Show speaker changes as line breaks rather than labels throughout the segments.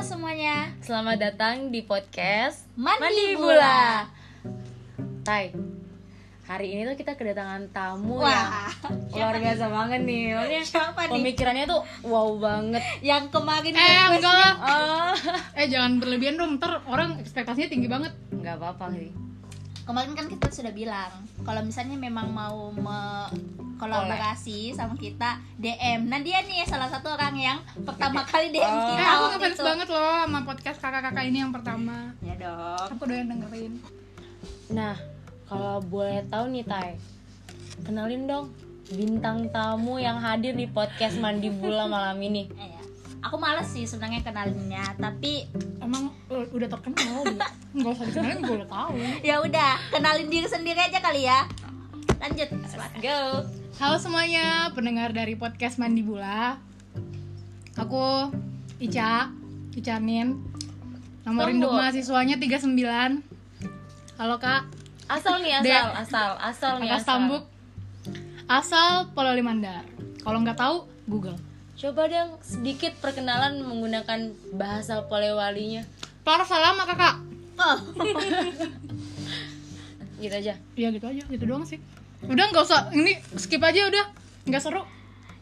semuanya.
Selamat datang di podcast
Mandi
Bula. Tai. Hari ini tuh kita kedatangan tamu
Wah,
ya. Luar biasa banget nih. Maksudnya
Siapa nih?
pemikirannya tuh wow banget.
yang kemarin
Eh,
request-
enggak lah.
Ah.
Oh.
Eh, jangan berlebihan dong. Ntar orang ekspektasinya tinggi banget.
Enggak apa-apa sih.
kemarin kan kita sudah bilang kalau misalnya memang mau me- kolaborasi sama kita DM. Nah dia nih salah satu orang yang pertama kali DM
Eh,
kita
aku
waktu
ngefans
itu.
banget loh sama podcast kakak-kakak ini yang pertama.
Ya dong.
Aku doyan dengerin.
Nah, kalau boleh tahu nih Tai. Kenalin dong bintang tamu yang hadir di podcast Mandi Bula malam ini.
Eh, ya. Aku males sih sebenarnya kenalinnya, tapi
Emang eh, udah terkenal udah. Enggak usah dikenalin gue udah tahu.
ya udah kenalin diri sendiri aja kali ya. Lanjut. silakan.
Go.
Halo semuanya, pendengar dari podcast Mandi Bula. Aku Ica, Icanin. Nomor induk
Tunggu.
mahasiswanya 39. Halo, Kak.
Asal nih,
Dek.
asal, asal, asal nih,
Kakak
asal.
Stambuk. Asal Pulau Limandar. Kalau nggak tahu, Google.
Coba dong sedikit perkenalan menggunakan bahasa Polewalinya.
Pelar salam sama kakak.
Oh,
Gitu aja.
Iya gitu aja, gitu doang sih. Udah nggak usah, ini skip aja udah, nggak seru.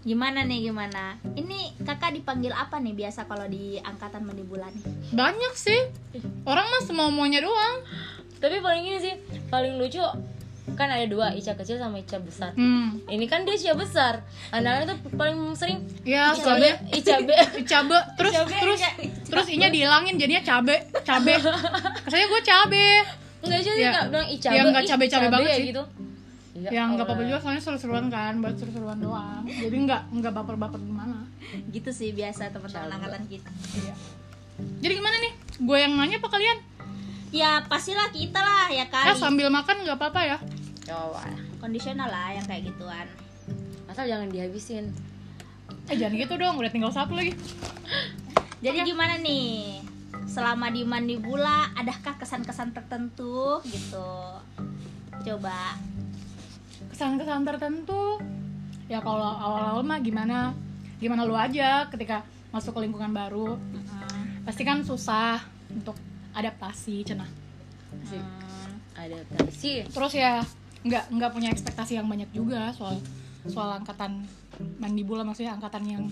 gimana nih gimana? Ini kakak dipanggil apa nih biasa kalau di angkatan mandi bulan?
Banyak sih. Orang mah semau maunya doang.
Tapi paling ini sih, paling lucu kan ada dua Ica kecil sama Ica besar.
Hmm.
Ini kan dia Ica besar. Anaknya tuh paling sering
Ya
Ica B,
soalnya
Ica B.
cabe terus
Cabe,
terus
Kak.
terus inya dihilangin jadinya cabe cabe kesannya gue cabe
Enggak sih
Ya.
enggak bilang Ica B.
Ya, nggak
ih,
cabe-cabe
Ica B
banget
ya
sih.
gitu. Ya
yang nggak apa-apa
Allah.
juga soalnya seru-seruan kan buat seru-seruan doang jadi nggak nggak baper-baper gimana Iya.
Gitu sih biasa teman-teman angkatan kita.
jadi gimana nih gue yang nanya apa kalian
Ya pastilah kita lah ya
eh
kali.
sambil makan nggak apa-apa ya
Coba.
Kondisional lah yang kayak gituan.
Asal jangan dihabisin.
eh jangan gitu dong udah tinggal satu lagi
Jadi
Iya.
gimana nih? Selama di mandi bula, adakah kesan-kesan tertentu gitu? Coba.
kesan-kesan tertentu ya kalau awal-awal mah gimana gimana lu aja ketika masuk ke lingkungan baru pasti kan susah untuk adaptasi cenah
Hmm.
Adaptasi.
terus ya nggak nggak punya ekspektasi yang banyak juga soal soal angkatan mandi bola maksudnya angkatan yang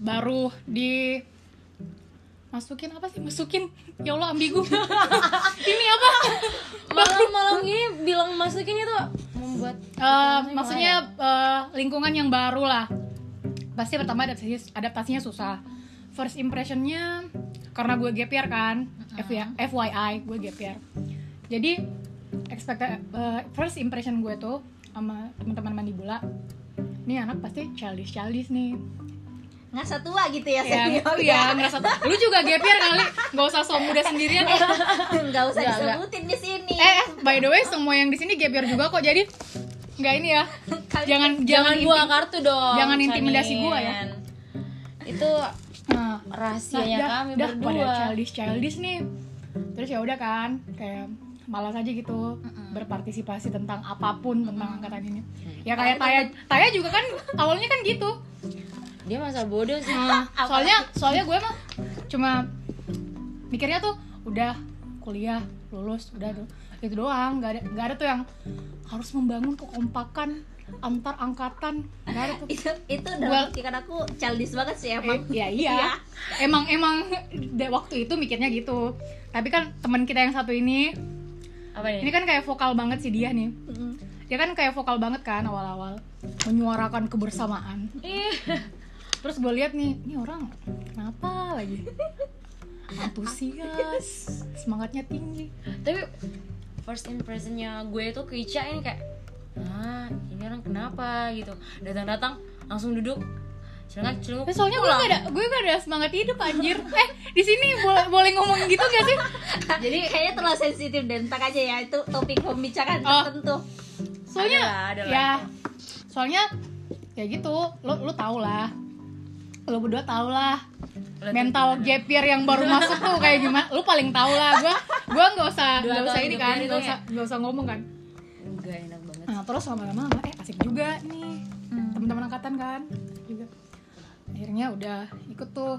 baru di masukin apa sih masukin ya Allah ambigu ini apa
Malam-malam gini bilang masukin itu membuat
Eh, maksudnya eh, lingkungan yang baru lah pasti pertama adaptasi adaptasinya susah first impressionnya karena gue gap year kan FY- FYI gue gap year jadi expect eh, first impression gue tuh sama teman-teman mandi bola ini anak pasti childish childish nih
Ngerasa tua gitu ya,
ya,
senior
ya ngerasa lu juga gap year kali nggak usah so muda sendirian
Nggak usah
Nggak,
disebutin di sini.
eh eh, by the way semua yang di sini gap year juga kok jadi nggak ini ya
Kali-
jangan
jangan
jangan
buang kartu dong.
jangan intimidasi gua ya.
Sanin. Itu
Nah,
rahasianya
dah-
kami
dah
berdua.
pada childish childish nih terus ya udah kan kayak malas aja gitu berpartisipasi tentang apapun tentang angkatan ini ya kayak Taya Taya juga kan awalnya kan gitu
Dia masa bodoh sih.
Nah, soalnya soalnya gue mah cuma mikirnya tuh udah kuliah lulus udah tuh itu doang nggak ada nggak ada tuh yang harus membangun kekompakan antar angkatan nggak ada tuh
itu itu dalam
Gua-
pikiran aku childish banget sih
Eh,
emang.
ya iya emang emang de- waktu itu mikirnya gitu tapi kan teman kita yang satu ini
Apa nih?
ini kan kayak vokal banget sih dia nih
Mm.
dia kan kayak vokal banget kan awal-awal menyuarakan kebersamaan
Ih,
terus gue lihat nih ini orang kenapa lagi antusias semangatnya tinggi
tapi first impressionnya gue itu ke Ica ini kayak ah ini orang kenapa gitu datang-datang langsung duduk kan, celengak celenguk
Tapi soalnya gue gak ada gue gak ada semangat hidup anjir eh di sini boleh boleh ngomong gitu gak sih
Jadi kayaknya terlalu sensitif dan tak aja ya itu topik pembicaraan
Oh.
tertentu.
soalnya
Ada lah, ada lah.
ya soalnya ya gitu lo lo tau lah lo berdua tau lah
Lo
mental gap year yang baru masuk tuh kayak gimana lo paling tau lah gua gua nggak usah
Dua
nggak usah
tahun
ini
hidup
kan
ini
nggak
tuh ya.
usah nggak usah ngomong kan
enggak enak banget
nah terus lama-lama eh asik juga nih teman-teman angkatan kan juga akhirnya udah ikut tuh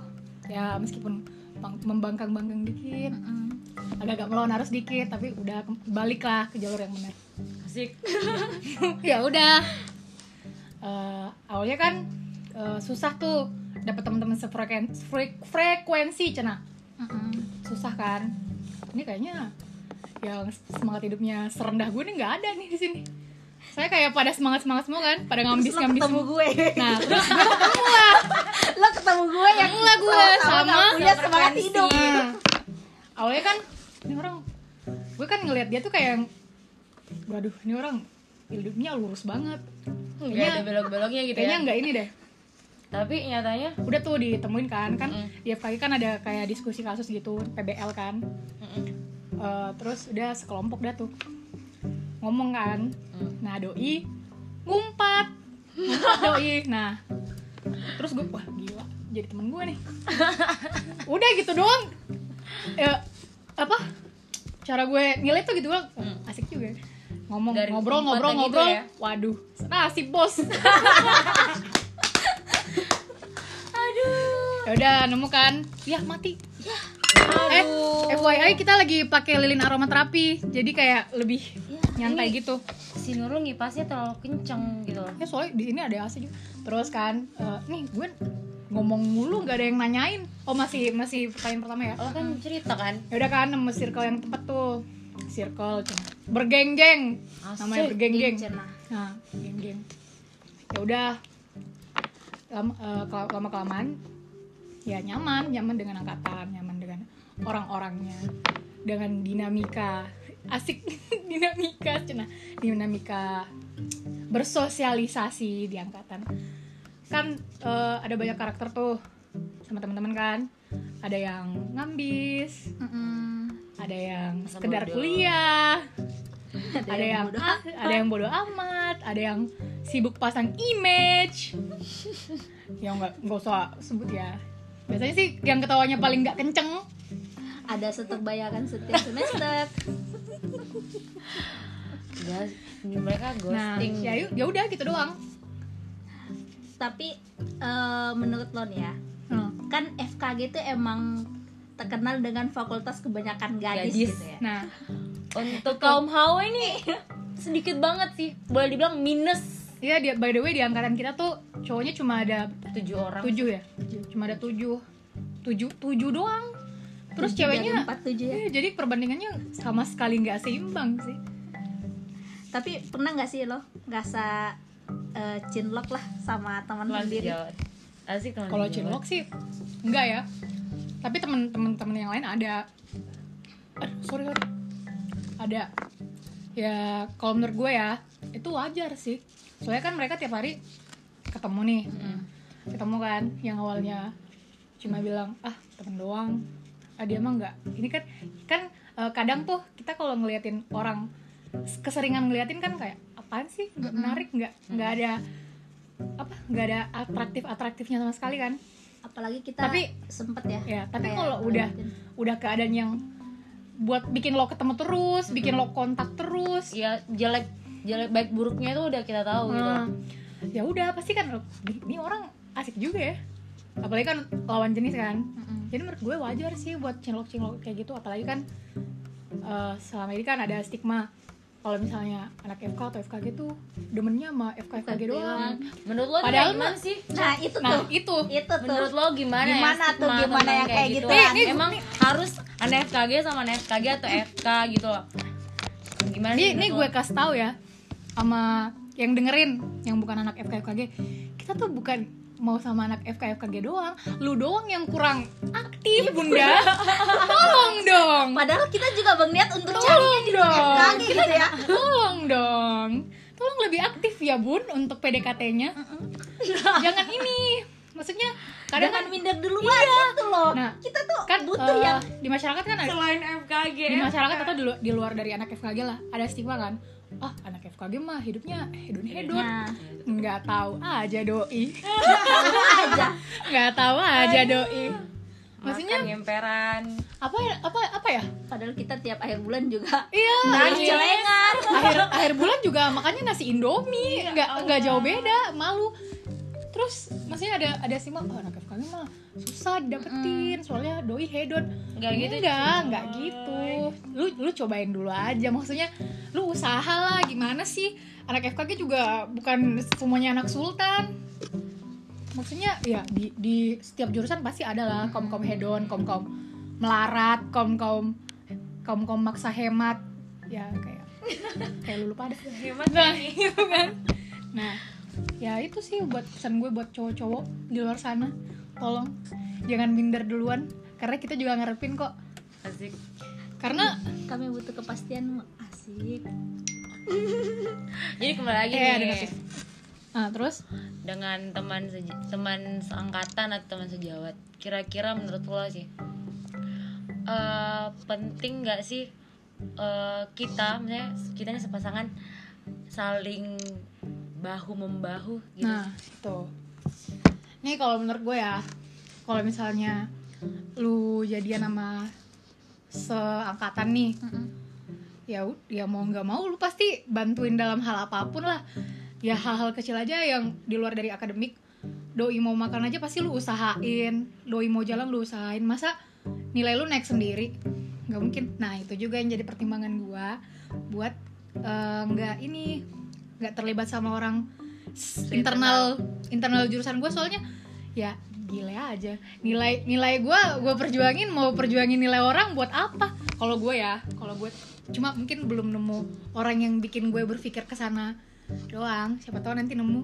ya meskipun bang- membangkang-bangkang dikit agak-agak melawan harus dikit tapi udah ke- balik lah ke jalur yang benar
asik
ya udah Eh, awalnya kan eh, susah tuh dapat teman-teman sefreken- frek- frekuensi cina susah kan ini kayaknya yang semangat hidupnya serendah gue nih nggak ada nih di sini saya kayak pada semangat semangat semua kan pada ngambis
Terus lo
ngambis
ketemu
semua.
gue
nah terus
lo ketemu gue yang
Ketemu lah gue,
sama-sama
sama.
gak Oh, punya semangat hidup
Nah, awalnya kan ini orang gue kan ngelihat dia tuh kayak yang, waduh ini orang hidupnya lurus banget
nggak ada
kayaknya
belok-beloknya gitu
Iya.
Iya.
kayaknya
ya
nggak ini deh
tapi nyatanya
udah tuh ditemuin kan kan
Mm-mm.
di FKI kan ada kayak diskusi kasus gitu PBL kan
mm-mm.
Eh, terus udah sekelompok dah tuh ngomong kan
Hmm.
nah doi ngumpat ngumpat doi nah terus gue wah gila jadi temen gue nih udah gitu doang ya apa cara gue nilai tuh gitu doang Wah,
Hmm.
asik juga ngomong
Dari
ngobrol
ngumpat
ngobrol
yang itu
ngobrol
ya?
waduh nasib bos
aduh
ya udah nemu kan ya mati eh
aduh
FYI kita lagi pakai lilin aromaterapi jadi kayak lebih nyantai gitu
"Ya, si Nurul ngipasnya terlalu kenceng gitu loh
ya soalnya di sini ada AC juga terus kan eh, nih gue ngomong mulu nggak ada yang nanyain oh masih masih pertanyaan pertama ya
lo kan cerita kan
ya udah kan nemu circle yang tepat tuh circle cina. bergenggeng namanya
Asik, Iya,
bergenggeng
Cina.
nah bergenggeng ya udah lama lama kelamaan ya nyaman nyaman dengan angkatan nyaman dengan orang-orangnya dengan dinamika asik dinamika cina dinamika bersosialisasi di angkatan kan eh, ada banyak karakter tuh sama teman-teman kan ada yang ngambis ada yang
Masa
sekedar
bodoh.
kuliah ada,
yang
yang ah, ada yang bodoh amat ada yang sibuk pasang image ya nggak nggak usah sebut ya biasanya sih yang ketawanya paling nggak kenceng
ada setek bayaran setiap semester
Udah, ini mereka
nah
ghosting
ya yuk- ya udah gitu doang
tapi eh, menurut lo nih ya
Nah,
kan FKG itu emang terkenal dengan fakultas kebanyakan gadis,
Gadis.
gitu ya
nah
untuk kaum hawa ini sedikit banget sih boleh dibilang minus
iya dia by the way di angkatan kita tuh cowoknya cuma ada
tujuh orang
tujuh ya cuma ada tujuh tujuh tujuh doang terus
Dari
ceweknya
empat tujuh ya
Iya, jadi perbandingannya sama sekali nggak seimbang sih
tapi pernah nggak sih lo ngerasa eh, cinlok lah sama teman
Teman
sendiri
iya.
sejawat. asik teman
Kalau
sejawat.
cilok sih enggak ya. Tapi temen-temen temen yang lain ada. Aduh, sorry, sorry. Ada. Ya kalau menurut gue ya itu wajar sih. Soalnya kan mereka tiap hari ketemu nih. Ketemu kan yang awalnya cuma bilang ah temen doang. Ah dia mah enggak. Ini kan kan eh, kadang tuh kita kalau ngeliatin orang keseringan ngeliatin kan kayak apaan sih nggak menarik nggak nggak ada apa nggak ada atraktif atraktifnya sama sekali kan
apalagi kita
Tapi-
sempet ya
Ya, tapi
Kayak
kalau udah udah keadaan yang buat bikin lo ketemu terus, bikin lo kontak terus,
ya jelek jelek baik buruknya itu udah kita tahu gitu
nah, ya udah pasti kan lo, ini orang asik juga ya. Apalagi kan lawan jenis kan. Jadi menurut gue wajar sih buat cinlok-cinlok kayak gitu, apalagi kan eh, selama ini kan ada stigma kalau misalnya anak FK atau FKG tuh demennya sama FK FKG gitu doang.
menurut lo Padahal
Padahal
gimana sih
nah itu
Nah,
tuh
itu
itu tuh
menurut lo gimana,
Gimana
ya
tuh,
stigma
gimana
tentang
yang kayak gitu?
gituan?
Nih, nih,
emang harus anak FKG sama anak FKG atau FK gitu loh gimana
Ini,
sih
ini gue
menurut lo?
kasih tahu ya sama yang dengerin yang bukan anak FKFKG. Kita tuh bukan mau sama anak FKFKG doang, lu doang yang kurang
Iya.
aktif, Bunda. Tolong dong.
padahal kita juga berniat untuk carinya
Tolong
di luar
dong.
FKG gitu ya
Tolong dong. Tolong lebih aktif ya, Bun, untuk PDKT-nya. Jangan ini. Maksudnya kadang kan
jangan minder duluan gitu loh
Nah,
kita tuh
kan
butuh
eh,
yang
di masyarakat kan ada
selain FKG
di masyarakat atau di, lu- di luar dari anak FKG lah ada stigma kan ah anak FKG mah hidupnya hedon hedon
Nah.
nggak tahu aja doi
tahu aja
nggak tahu aja doi maksudnya
maksudnya ngemperan
apa ya apa apa ya
padahal kita tiap akhir bulan juga
iya
Nah,
nangis
akhir-
celengan
Iya,
akhir akhir bulan juga makannya nasi indomie nggak nggak jauh beda malu terus maksudnya ada ada sih mah oh, anak FKM mah susah didapetin soalnya doi hedon
Mm. Nggak gitu,
enggak
cuy.
enggak gitu lu lu cobain dulu aja maksudnya lu usaha lah gimana sih anak FKG juga bukan semuanya anak sultan maksudnya ya di di setiap jurusan pasti ada lah kom kom hedon kom kom melarat kom kom kom kom maksa hemat ya kayak kayak lu lupa ada
hemat
nah gitu kan nah ya itu sih buat pesan gue buat cowok-cowok di luar sana tolong jangan minder duluan karena kita juga ngarepin kok
asik
karena
Kami butuh kepastian asik.
jadi kembali lagi
eh ada
nih
notif. nah terus
dengan teman seje- teman seangkatan atau teman sejawat kira-kira menurut lo sih eh, penting nggak sih eh, kita misalnya kita nih sepasangan saling bahu membahu gitu
nah itu nih kalau menurut gue ya kalau misalnya lu jadian sama seangkatan nih ya ud- ya mau nggak mau lu pasti bantuin dalam hal apapun lah ya hal-hal kecil aja yang di luar dari akademik doi mau makan aja pasti lu usahain doi mau jalan lu usahain masa nilai lu naik sendiri nggak mungkin nah itu juga yang jadi pertimbangan gua buat eh, nggak ini nggak terlibat sama orang s- internal internal jurusan gua soalnya ya gile aja nilai nilai gua gua perjuangin mau perjuangin nilai orang buat apa kalau gue ya kalau gue cuma mungkin belum nemu orang yang bikin gue berpikir ke sana doang siapa tahu nanti nemu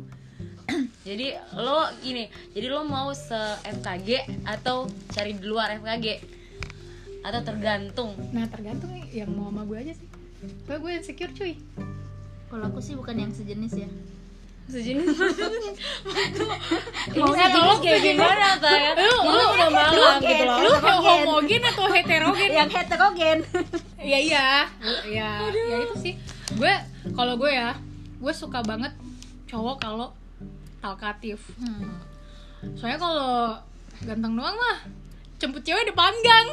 jadi lo gini jadi lo mau se FKG atau cari di luar FKG atau tergantung
nah tergantung yang mau sama gue aja sih gue gue insecure cuy
Kalau aku sih bukan yang sejenis ya.
sejenis
Mau
mau sejenis
ngomong
kayak gimana Tay?
Lu-
Mungkin
lu-
udah malam
lu-
gitu loh
lu mau
Heterogen.
homogen atau heterogen
yang heterogen.
ya iya ya ya itu sih gue kalau gue ya gue suka banget cowok kalau talkatif
Hmm.
soalnya kalau ganteng doang mah jemput cewek depan gang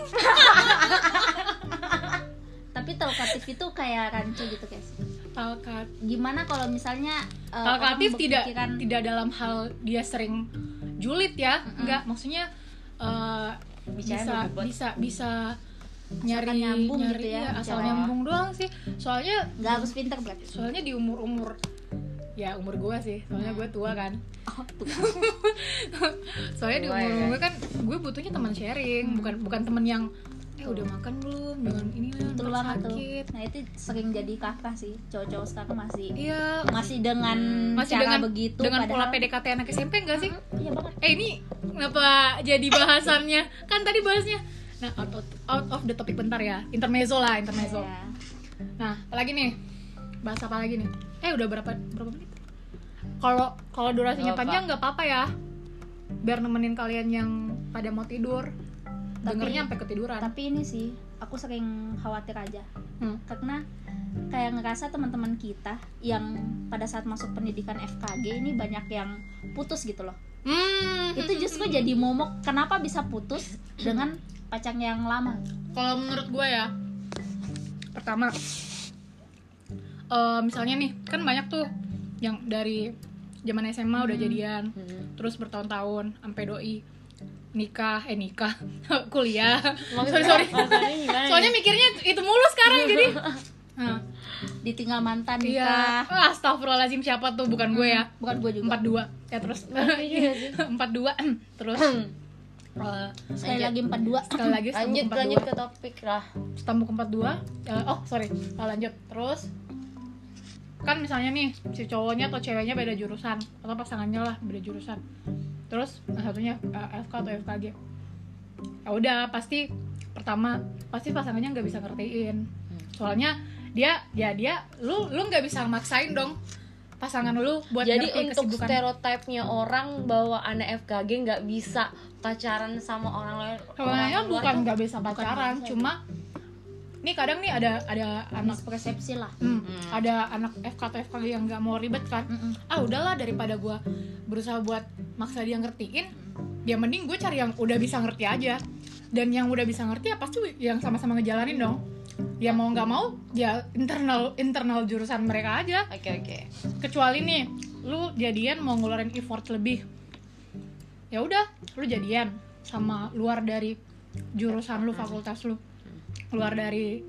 Tapi talkatif itu kayak rancu gitu guys.
talkat
Gimana kalau misalnya eh,
talkatif
orang
tidak
berpikiran-
tidak dalam hal dia sering julid ya enggak maksudnya eh,
Bicaranya
bisa
berbobot.
bisa bisa nyari
nyambung
nyari
gitu ya,
iya, asal
bicara.
nyambung doang sih soalnya
nggak harus pinter berarti.
soalnya di umur umur ya umur gue sih soalnya gue tua kan
Oh, tuh.
soalnya di
Tua
umur
ya.
gue kan gue butuhnya teman
Hmm.
sharing bukan bukan teman yang eh udah makan belum jangan ini lah
Itu
perut
banget tuh.
sakit
Nah, itu sering jadi kakak sih. Cowok-cowok sekarang masih
iya
masih dengan
masih
Hmm, cara
dengan
begitu
dengan pola
padahal
PDKT anak SMP enggak sih
iya banget
eh ini kenapa jadi bahasannya kan tadi bahasnya nah out, out- out of the topic bentar ya intermezzo lah intermezzo
Iya.
nah apalagi nih bahas apa lagi nih eh udah berapa berapa menit kalau kalau
Nggak
durasinya
apa.
panjang nggak apa-apa ya biar nemenin kalian yang pada mau tidur
Tapi-
dengernya sampai ketiduran
tapi ini sih aku sering khawatir aja
Hmm.
karena kayak ngerasa teman-teman kita yang pada saat masuk pendidikan FKG ini banyak yang putus gitu loh
Hmm,
itu justru jadi momok kenapa bisa putus dengan pacar yang lama
kalau menurut gue ya pertama eh, misalnya nih kan banyak tuh yang dari zaman SMA udah
Hmm.
jadian terus bertahun-tahun sampai doi nikah eh nikah kuliah sorry sorry
Maksudnya gimana?
soalnya mikirnya itu mulu sekarang jadi nah,
ditinggal mantan
iya
nikah
Ah, astagfirullahaladzim siapa tuh bukan gue
Hmm.
ya
bukan gue juga
empat dua ya terus
Iya
empat dua terus
Hmm.
eh,
sekali lagi empat dua
sekali lagi
lanjut
sambung
lanjut ke topik lah
Stambuk 42 eh, Oh sorry Eh, Lanjut Terus Kan misalnya nih Si cowoknya atau ceweknya beda jurusan Atau pasangannya lah beda jurusan Terus yang satunya eh, FK atau FKG Ya udah pasti Pertama Pasti pasangannya nggak bisa ngertiin
Hmm.
Soalnya Dia Ya dia Lu lu nggak bisa maksain dong Pasangan lu Buat
jadi
ngerti
untuk
kesibukan.
stereotipnya orang bahwa anak FKG nggak bisa pacaran sama orang lain
Sebenarnya
orang luar
bukan
tuh
nggak bisa pacaran
bisa.
Cuma Nih kadang nih ada ada anak
mispersepsi lah
Hmm, ada anak FK atau FKG yang nggak mau ribet kan
Mm-mm.
ah udahlah daripada gue berusaha buat maksa dia ngertiin dia mending gue cari yang udah bisa ngerti aja dan yang udah bisa ngerti ya pasti yang sama-sama ngejalanin dong ya mau nggak mau ya internal internal jurusan mereka aja
oke oke
kecuali nih lu jadian mau ngeluarin effort lebih ya udah lu jadian sama luar dari jurusan lu fakultas lu luar dari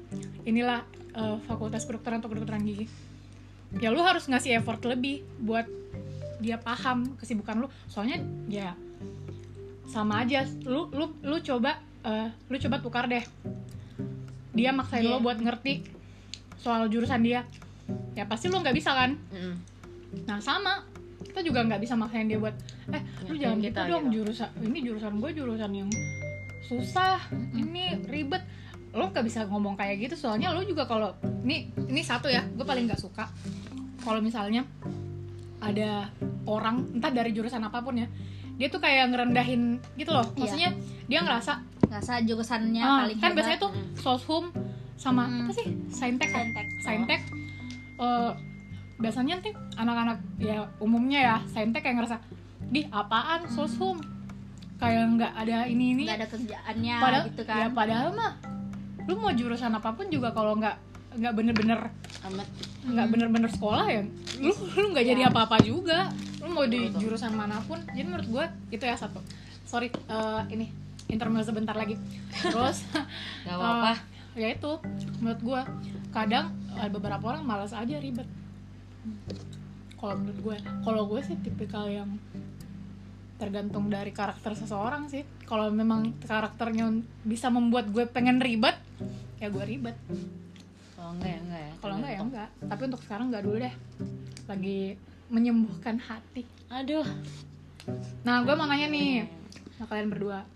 inilah eh, fakultas kedokteran atau kedokteran gigi ya lu harus ngasih effort lebih buat dia paham kesibukan lu soalnya ya sama aja lu lu lu coba eh, lu coba tukar deh dia maksain
Iya.
lo buat ngerti soal jurusan dia ya pasti lu nggak bisa kan
Mm-mm.
Nah sama kita juga nggak bisa maksain dia buat eh lu
Ngertiin
jangan gitu
kita
dong
gitu."
jurusan ini jurusan gue jurusan yang susah ini ribet lo nggak bisa ngomong kayak gitu soalnya lo juga kalau ini ini satu ya gue paling nggak suka kalau misalnya ada orang entah dari jurusan apapun ya dia tuh kayak ngerendahin gitu loh
Iya.
maksudnya dia ngerasa
Ngerasa jurusannya
ah,
paling
kan
hebat.
biasanya tuh soshum sama
Hmm.
apa sih saintek ya?
Saintek.
Saintek eh, biasanya nanti anak-anak ya umumnya ya Saintek kayak ngerasa di apaan soshum kayak nggak ada ini ini
Oh, nggak ada kerjaannya
padahal
gitu
ya
kan
padahal mah lu mau jurusan apapun juga kalau nggak nggak bener-bener
amat
Hmm,
nggak bener-bener sekolah ya lu lu nggak jadi
Ya.
apa-apa juga lu mau di
Betul.
jurusan manapun jadi menurut gue itu ya satu sorry eh, ini intermezzo sebentar lagi terus
gak apa-apa
Eh, ya itu menurut gue kadang ada beberapa orang malas aja ribet kalau menurut gue kalau gue sih tipikal yang tergantung dari karakter seseorang sih kalau memang karakternya bisa membuat gue pengen ribet ya gue ribet
kalau enggak ya enggak ya
kalau enggak ya
Tergantung.
enggak tapi untuk sekarang enggak dulu deh lagi menyembuhkan hati
aduh
nah gue mau nanya nih sama kalian berdua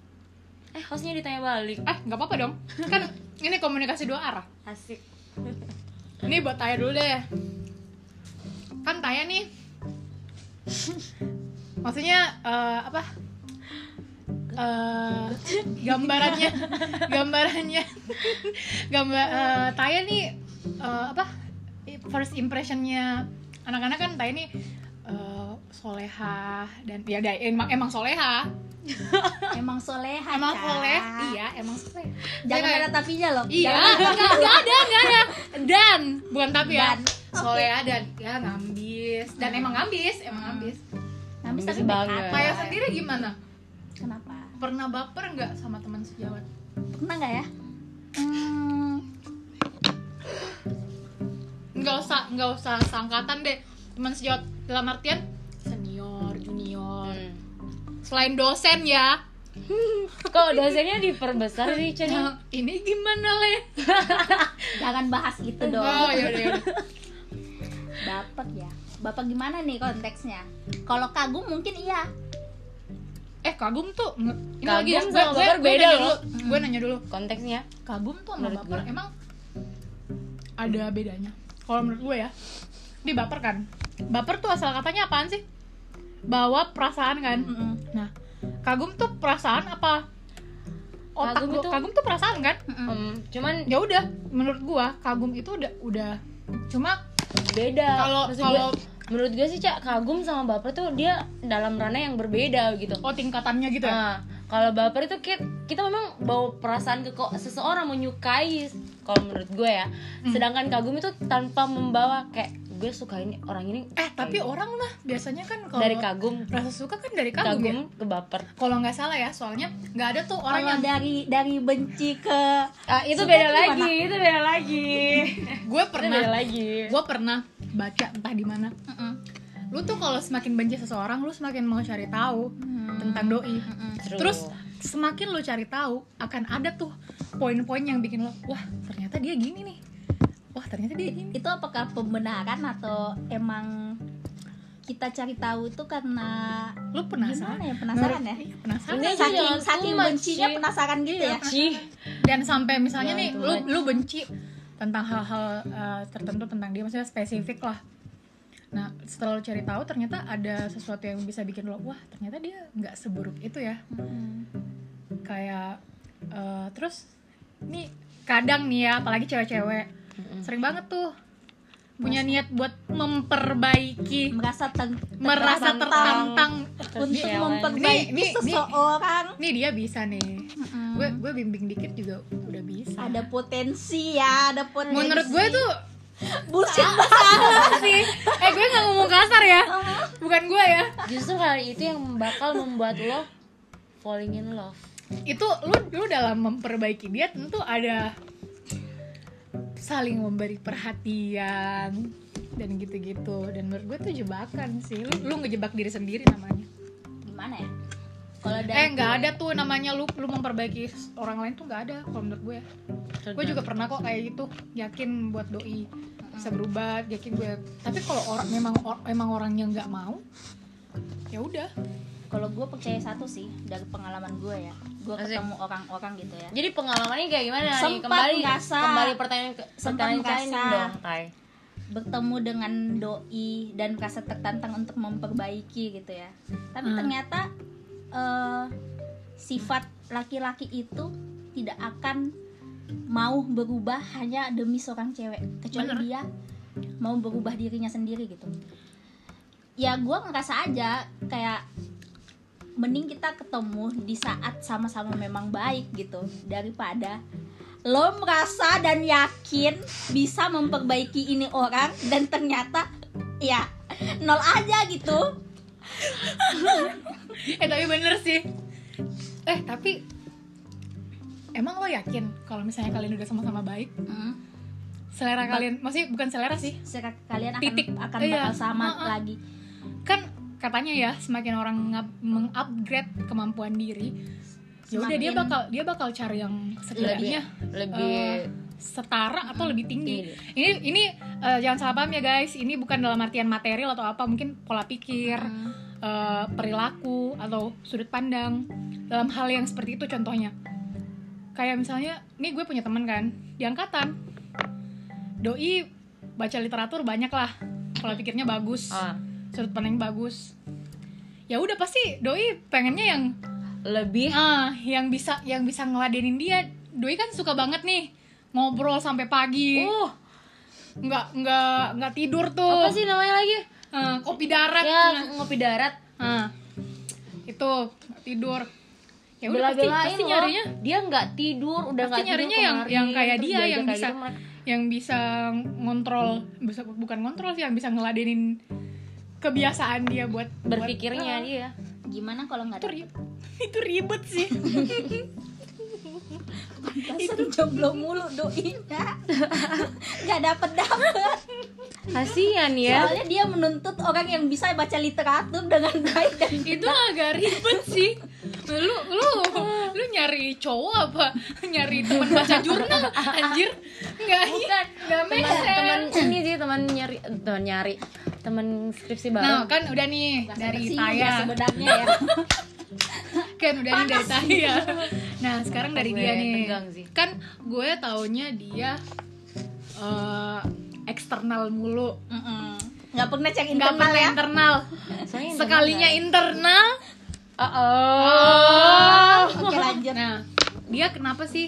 eh hostnya ditanya balik
eh nggak apa-apa dong kan ini komunikasi dua arah
asik
Ini buat Taya dulu deh. Kan Taya nih. Maksudnya eh, apa? Eh, gambarannya gambarannya gambar eh, Taya nih eh, apa? First impressionnya anak-anak kan Taya nih eh, soleha dan ya dia- emang emang soleha
emang soleha
emang
Ca.
soleh iya emang soleh
jangan
Jangan.
ada tapinya loh
Iya,
Jangan.
enggak, enggak ada, enggak ada. Dan Hmm. bukan tapi ya.
Dan.
Soalnya dan ya ngambis. Dan emang ngambis, emang ngambis.
Nah, bisa
Bisa
tapi back
banget.
up.
Kayak sendiri gimana?
kenapa
Pernah baper nggak sama teman sejawat?
pernah nggak ya Hmm,
Nggak usah, nggak usah sangkatan deh. Teman sejawat dalam artian senior, junior.
Hmm.
Selain dosen ya.
kok dosennya diperbesar sih Cen?
Nah, ini gimana, Le?
jangan bahas itu dong
Oh, ya udah. yaudah.
bapak ya bapak gimana nih konteksnya kalau kagum mungkin iya
Eh, kagum tuh. Ini
Kagum
lagi ya,
sama
gue, gue,
baper
gue
beda
nanya
loh.
dulu. Gue nanya dulu.
konteksnya
kagum tuh sama
Menurut
baper
gue.
emang ada bedanya kalau menurut gue ya ini baper kan baper tuh asal katanya apaan sih bawa perasaan kan
Mm-mm.
nah kagum tuh perasaan apa otak
Kagum
kagum
itu-
kagum tuh perasaan kan
Hmm, cuman
ya udah menurut gue kagum itu udah udah cuma
beda
Kalau-
Maksud gue,
kalau-
menurut gue sih cak kagum sama baper tuh dia dalam ranah yang berbeda gitu
oh tingkatannya gitu ya
Nah, kalau baper itu kita, kita memang bawa perasaan ke kok seseorang menyukai kalau menurut gue ya.
Hmm.
Sedangkan kagum itu tanpa membawa kayak gue suka ini orang ini
eh tapi orang mah biasanya kan kalau
dari kagum
rasa suka kan dari kagum,
kagum,
ya
ke baper.
kalau nggak salah ya soalnya nggak ada tuh orang
kalau
yang
dari dari benci ke
Ah, itu
Suka
beda
tuh
lagi, itu beda lagi.
gue
itu beda
pernah
lagi.
gue pernah baca entah di mana lu tuh kalau semakin benci seseorang lu semakin mau cari tahu tentang
Hmm.
doi terus semakin lu cari tahu akan ada tuh poin-poin yang bikin lo wah ternyata dia gini nih wah ternyata dia gini
itu apakah pembenaran atau emang kita cari tahu itu karena
lu
gimana
penasaran
ya penasaran ya
Iya, penasaran
Ini aja
saking
jangan
saking
kumat,
bencinya
Ci.
penasaran gitu
Iya.
ya
Cih,
dan sampai misalnya
Jangan
nih
too
lu
much.
lu benci tentang hal-hal uh, tertentu tentang dia maksudnya spesifik lah nah setelah lu cari tahu ternyata ada sesuatu yang bisa bikin lo wah ternyata dia nggak seburuk itu ya kayak eh, terus nih kadang nih ya apalagi cewek-cewek sering banget tuh punya niat buat memperbaiki
merasa teng-
merasa tertantang Iya,
untuk
Challenge.
memperbaiki
Ini- ini-
seseorang
nih dia bisa nih gue gue bimbing dikit juga udah bisa
ada potensi ya ada potensi
menurut gue tuh
bullshit banget sih
eh gue nggak ngomong kasar ya bukan gue ya
justru hal itu yang bakal membuat lo falling in love
itu lu lu dalam memperbaiki dia tentu ada saling memberi perhatian dan gitu-gitu dan menurut gue tuh jebakan sih lu lu ngejebak diri sendiri namanya
gimana ya kalau dari
eh nggak
gue-
ada tuh namanya lu lu memperbaiki orang lain tuh nggak ada kalau menurut gue ya gue juga pernah kok kayak gitu yakin buat doi bisa berubah yakin gue tapi kalau orang memang or- emang orangnya nggak mau ya udah
kalau gue percaya satu sih dari pengalaman gue ya gue
Asik.
ketemu orang-orang gitu ya
jadi pengalamannya kayak gimana nih
Sempat
kembali
ngerasa.
kembali pertanyaan ke
Sempat
pertanyaan Kain
ngerasa.
dong
Iya.
Tai
bertemu dengan doi dan merasa tertantang untuk memperbaiki gitu ya tapi
Hmm.
ternyata eh, sifat laki-laki itu tidak akan mau berubah hanya demi seorang cewek kecuali
Bener.
dia mau berubah dirinya sendiri gitu ya gue ngerasa aja kayak mending kita ketemu di saat sama-sama memang baik gitu daripada lo merasa dan yakin bisa memperbaiki ini orang dan ternyata ya nol aja gitu
eh tapi bener sih eh tapi emang lo yakin kalau misalnya kalian udah sama-sama baik
hmm.
selera
Ba-
kalian masih bukan selera sih
Sekarang kalian akan
Titik.
akan
Iya.
bakal sama
Ha-ha.
lagi
kan katanya ya semakin orang ngap- mengupgrade kemampuan diri ya udah dia
Semakin-
bakal dia bakal cari yang
lebih ya.
setidaknya
lebih
eh, setara atau lebih tinggi
tinggi.
ini ini eh, jangan salah paham ya guys ini bukan dalam artian material atau apa mungkin pola pikir
Hmm.
eh, perilaku atau sudut pandang dalam hal yang seperti itu contohnya kayak misalnya nih gue punya teman kan di angkatan doi baca literatur banyak lah pola pikirnya bagus
Ah,
sudut pandang bagus ya udah pasti doi pengennya yang
lebih
ah yang bisa yang bisa ngeladenin dia doi kan suka banget nih ngobrol sampai pagi
uh
nggak nggak nggak tidur tuh
apa sih namanya lagi
Eh, kopi darat Nah,
ya ngopi darat
Ah. itu nggak tidur ya udah pasti,
bela-belain
pasti
loh.
nyarinya
dia nggak tidur udah
pasti
nggak tidur
nyarinya yang
kemarin,
yang kayak
terus
dia
diajak
yang
kayak
bisa
gitu, mereka-
yang bisa ngontrol bisa bukan ngontrol sih yang bisa ngeladenin kebiasaan dia buat buat-
berpikirnya
Ah.
dia
gimana kalau nggak
itu ribet itu ribet sih
itu jomblo mulu doinya nggak dapet dapet
kasian
Iya.
ya
soalnya dia menuntut orang yang bisa baca literatur dengan baik dan
itu agak ribet sih lu lu lu nyari cowok apa nyari teman baca jurnal anjir nggak bukan nggak make
teman teman
sense.
ini sih teman nyari teman nyari teman skripsi
nah
baru
kan udah nih
Nggak
dari
seksi
Taya
ya sebenarnya ya
kan udah nih dari Taya nah sekarang dari
Gue
dia nih
tegang sih.
kan gue taunya dia eh, eksternal mulu
Mm-mm. nggak pernah cek
nggak
internal
pernah
ya
internal
Soalnya ini ya?
sekalinya
enggak.
internal
oh, oh.
oke lanjut
nah dia kenapa sih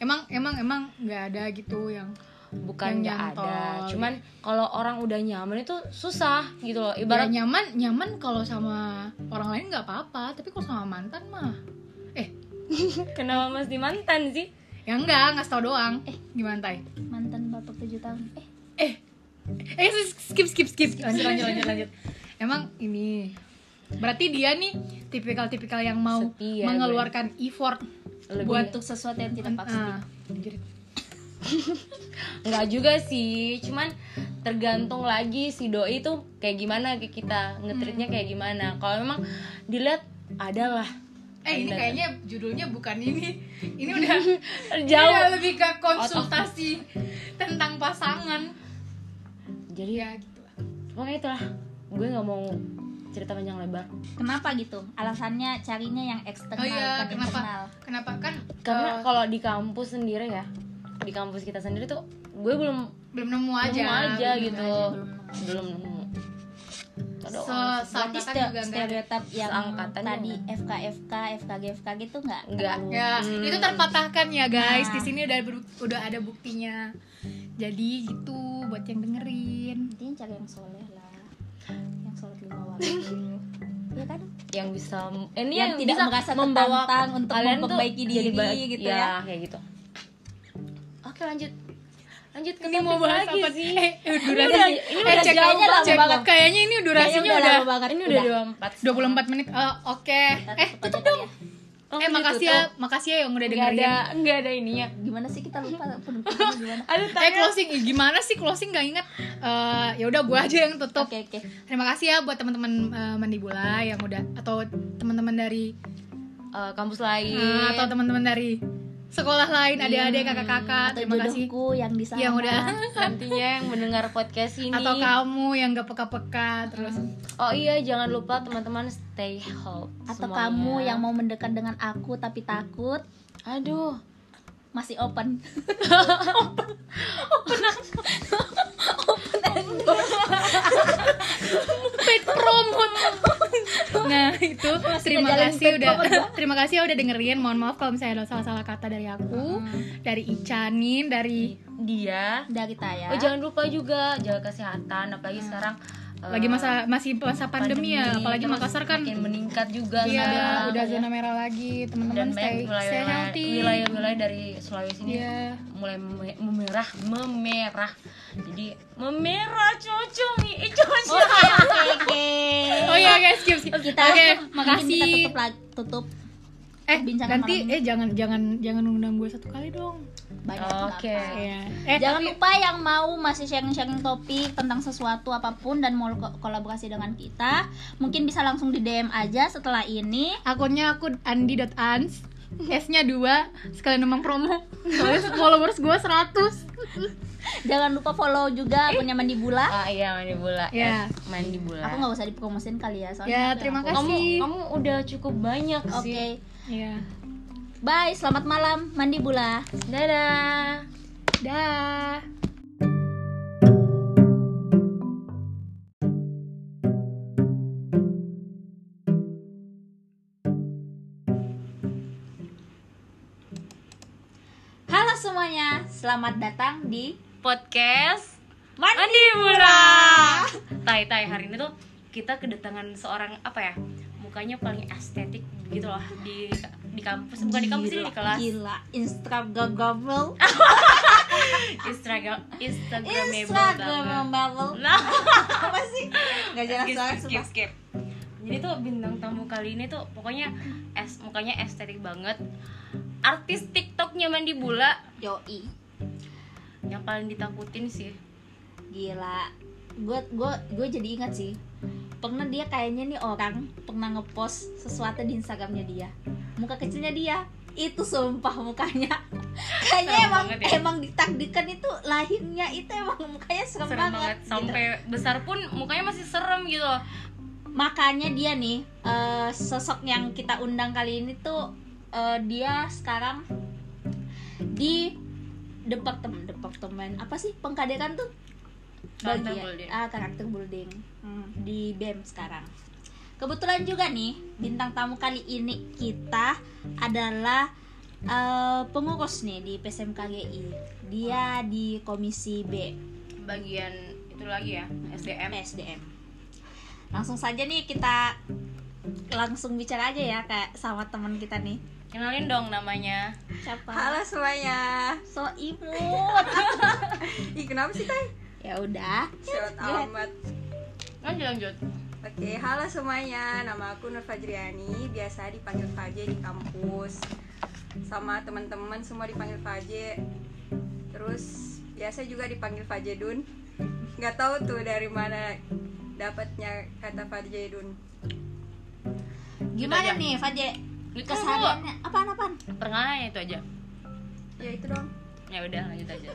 emang emang emang nggak ada gitu yang
bukan
Yang
nggak
nyantol,
ada
gitu.
cuman kalau orang udah nyaman itu susah gitu loh
Ibarat
ibaratnya
ya nyaman, nyaman kalau sama orang lain nggak apa-apa, tapi kalau sama mantan mah, eh,
kenapa mas di mantan sih
ya enggak, nggak tau doang. Eh, gimana tay?
mantan bapak tujuh tahun eh
Eh, eh, skip, skip, skip. Lanjut, lanjut, lanjut, lanjut. Emang ini, berarti dia nih tipikal-tipikal yang mau
Setia,
mengeluarkan effort
Lebih.
buat
untuk sesuatu yang tidak pasti
Ah, anjir.
nggak juga sih cuman tergantung lagi si doi itu kayak gimana ke kita ngetritnya kayak gimana kalau memang dilihat adalah
Eh, ini kayaknya judulnya bukan ini. Ini udah
jauh
udah lebih ke konsultasi tentang pasangan.
jadi ya
Iya, gitu.
pokoknya itulah gue nggak mau cerita panjang lebar
kenapa gitu alasannya carinya yang eksternal
Oh iya,
bukan
kenapa?
internal
Kenapa kan
karena
eh,
kalau di kampus sendiri ya di kampus kita sendiri tuh gue belum
belum nemu
aja,
aja.
aja
belum
gitu
nemu
belum nemu.
belum nemu Aduh,
Se
berarti
seangkatan
ste-
juga enggak ada.
stereotip yang
Seangkatan
tadi
juga
FK FK FKG FKG itu gitu nggak
Nggak.
terlalu-
Ya,
Hmm.
itu terpatahkan ya guys.
Nah.
Di sini udah beru- udah ada buktinya. Jadi gitu buat yang dengerin.
intinya cari yang soleh lah yang soleh lima waktu ya kan
yang bisa eh, ini
Yang tidak
bisa
merasa
membawa
tertantang untuk
kalian tuh ya,
memperbaiki
jadi
diri
baik-
gitu ya.
kayak gitu oke lanjut lanjut ke
ini mau
topik
bahas
lagi
apa
sih
Eh, eh, durasi
udah- ini
eh,
udah
cek
jauhnya
dulu,
lama
cek
banget.
dulu. Kayaknya ini durasinya
Kayaknya
udah,
lama banget.
ini udah dua empat
24 menit. Eh, oke. Eh, tutup dong.
ya.
Oh,
eh,
ini
makasih ya, makasih ya yang udah
nggak
dengerin.
ada nggak ada ya. ininya
Gimana sih kita lupa penutupannya gimana?
ada
Eh, closing Ih, gimana sih closing gak inget? Eh, ya udah gua aja yang tutup.
Oke, oke.
Terima kasih ya buat teman-teman eh, Mandibula yang udah atau teman-teman dari
Eh, kampus lain
eh, atau teman-teman dari sekolah lain, adik-adik, kakak-kakak.
Iya, Atau
Ah, Terima kasih
jodohku yang di sana.
yang udah
nantinya yang mendengar podcast ini
atau kamu yang gak peka-peka terus
oh iya jangan lupa teman-teman stay healthy
Atau
semuanya.
kamu yang mau mendekat dengan aku tapi takut
aduh
masih open.
paid promote.
Hmm.
Nah itu terima
ngejalin
kasih udah terima kasih ya udah dengerin. Mohon maaf kalau misalnya ada salah-salah kata dari aku,
Hmm.
dari Icanin, dari
Iya.
dia
Dari Taya.
oh jangan lupa juga jaga kesehatan apalagi sekarang eh,
Hmm. lagi masa masih masa pandemi, ya, apalagi
terus
Makassar kan
makin meningkat juga sekarang.
Iya, udah zona merah lagi.
dan
Teman-teman
banyak
stay, stay
wilayah-wilayah
healthy.
wilayah-wilayah dari Sulawesi ini
Iya.
mulai me- memerah memerah jadi memerah cucu nih eh, cucu
Oh iya guys, skip skip.
Kita
Oke,
mungkin
makasih.
Kita tutup la- tutup
Eh,
perbincangan
nanti
malam
eh jangan jangan jangan undang gue satu kali dong.
banyak nggak
oke
Iya.
apa.
Eh,
Jangan lupa yang mau masih sharing-sharing topik tentang sesuatu apapun dan mau ko- kolaborasi dengan kita, mungkin bisa langsung di DM aja setelah ini.
akunnya aku andi.ans S-nya 2, sekalian emang promo Soalnya followers gue 100
Jangan lupa follow juga akunnya Mandi Bula.
ah iya mandi bola
Iya.
eh, mandi bola
Aku nggak usah dipromosin kali ya
Ya,
soalnya. aku-
terima
kamu
kasih
kamu udah cukup banyak
Oke.
sih
Iya
Bye, selamat malam Mandi Bula.
dadah
Dah
Halo semuanya, selamat datang di
podcast
Mandi
Mandi Bola. Tai Tai hari ini tuh kita kedatangan seorang apa ya? Mukanya paling estetik gitu loh di di kampus, bukan di kampus ini di kelas.
Gila, Instagramable.
Instagram Instagramable.
Instagramable.
Nah,
Apa sih? Gak jelas
skip,
banget
skip,
sumpah.
skip. Jadi tuh bintang tamu kali ini tuh pokoknya es mukanya estetik banget. Artis TikToknya Mandi Bula
Yoi.
yang paling ditakutin sih.
Gila. Gue gue gue jadi ingat sih. Pernah dia kayaknya nih orang pernah ngepost sesuatu di Instagramnya dia. Muka kecilnya dia itu sumpah mukanya kayaknya
Serem
emang
banget ya.
emang ditakdirkan itu lahirnya itu emang mukanya serem,
Serem banget.
gitu.
Sampai besar pun mukanya masih serem gitu loh.
makanya dia nih eh, sosok yang kita undang kali ini tuh eh, dia sekarang di departemen departemen apa sih pengkaderan tuh
Karakter
Bagian-
building.
ah karakter building Hmm, di BEM sekarang kebetulan juga nih bintang tamu kali ini kita adalah eh, pengurus nih di PSMKGI dia di komisi B
bagian itu lagi ya SDM
SDM. Langsung saja nih kita langsung bicara aja ya kayak sama teman kita nih.
kenalin dong namanya
Siapa?
Halo semuanya.
So imut.
Ih, kenapa sih, Tay?
ya udah.
Shout amat.
lanjut lanjut
Oke, halo semuanya. Nama aku Nur Fajriani, biasa dipanggil Faje di kampus. Sama teman-teman semua dipanggil Faje. Terus biasa juga dipanggil Faje Dun. Nggak tahu tuh dari mana dapatnya kata Faje Dun.
Gimana
Udah,
nih, Faje?
itu
Kesehariannya apaan apaan?
perkenalannya itu aja
Ya itu dong.
ya udah lanjut aja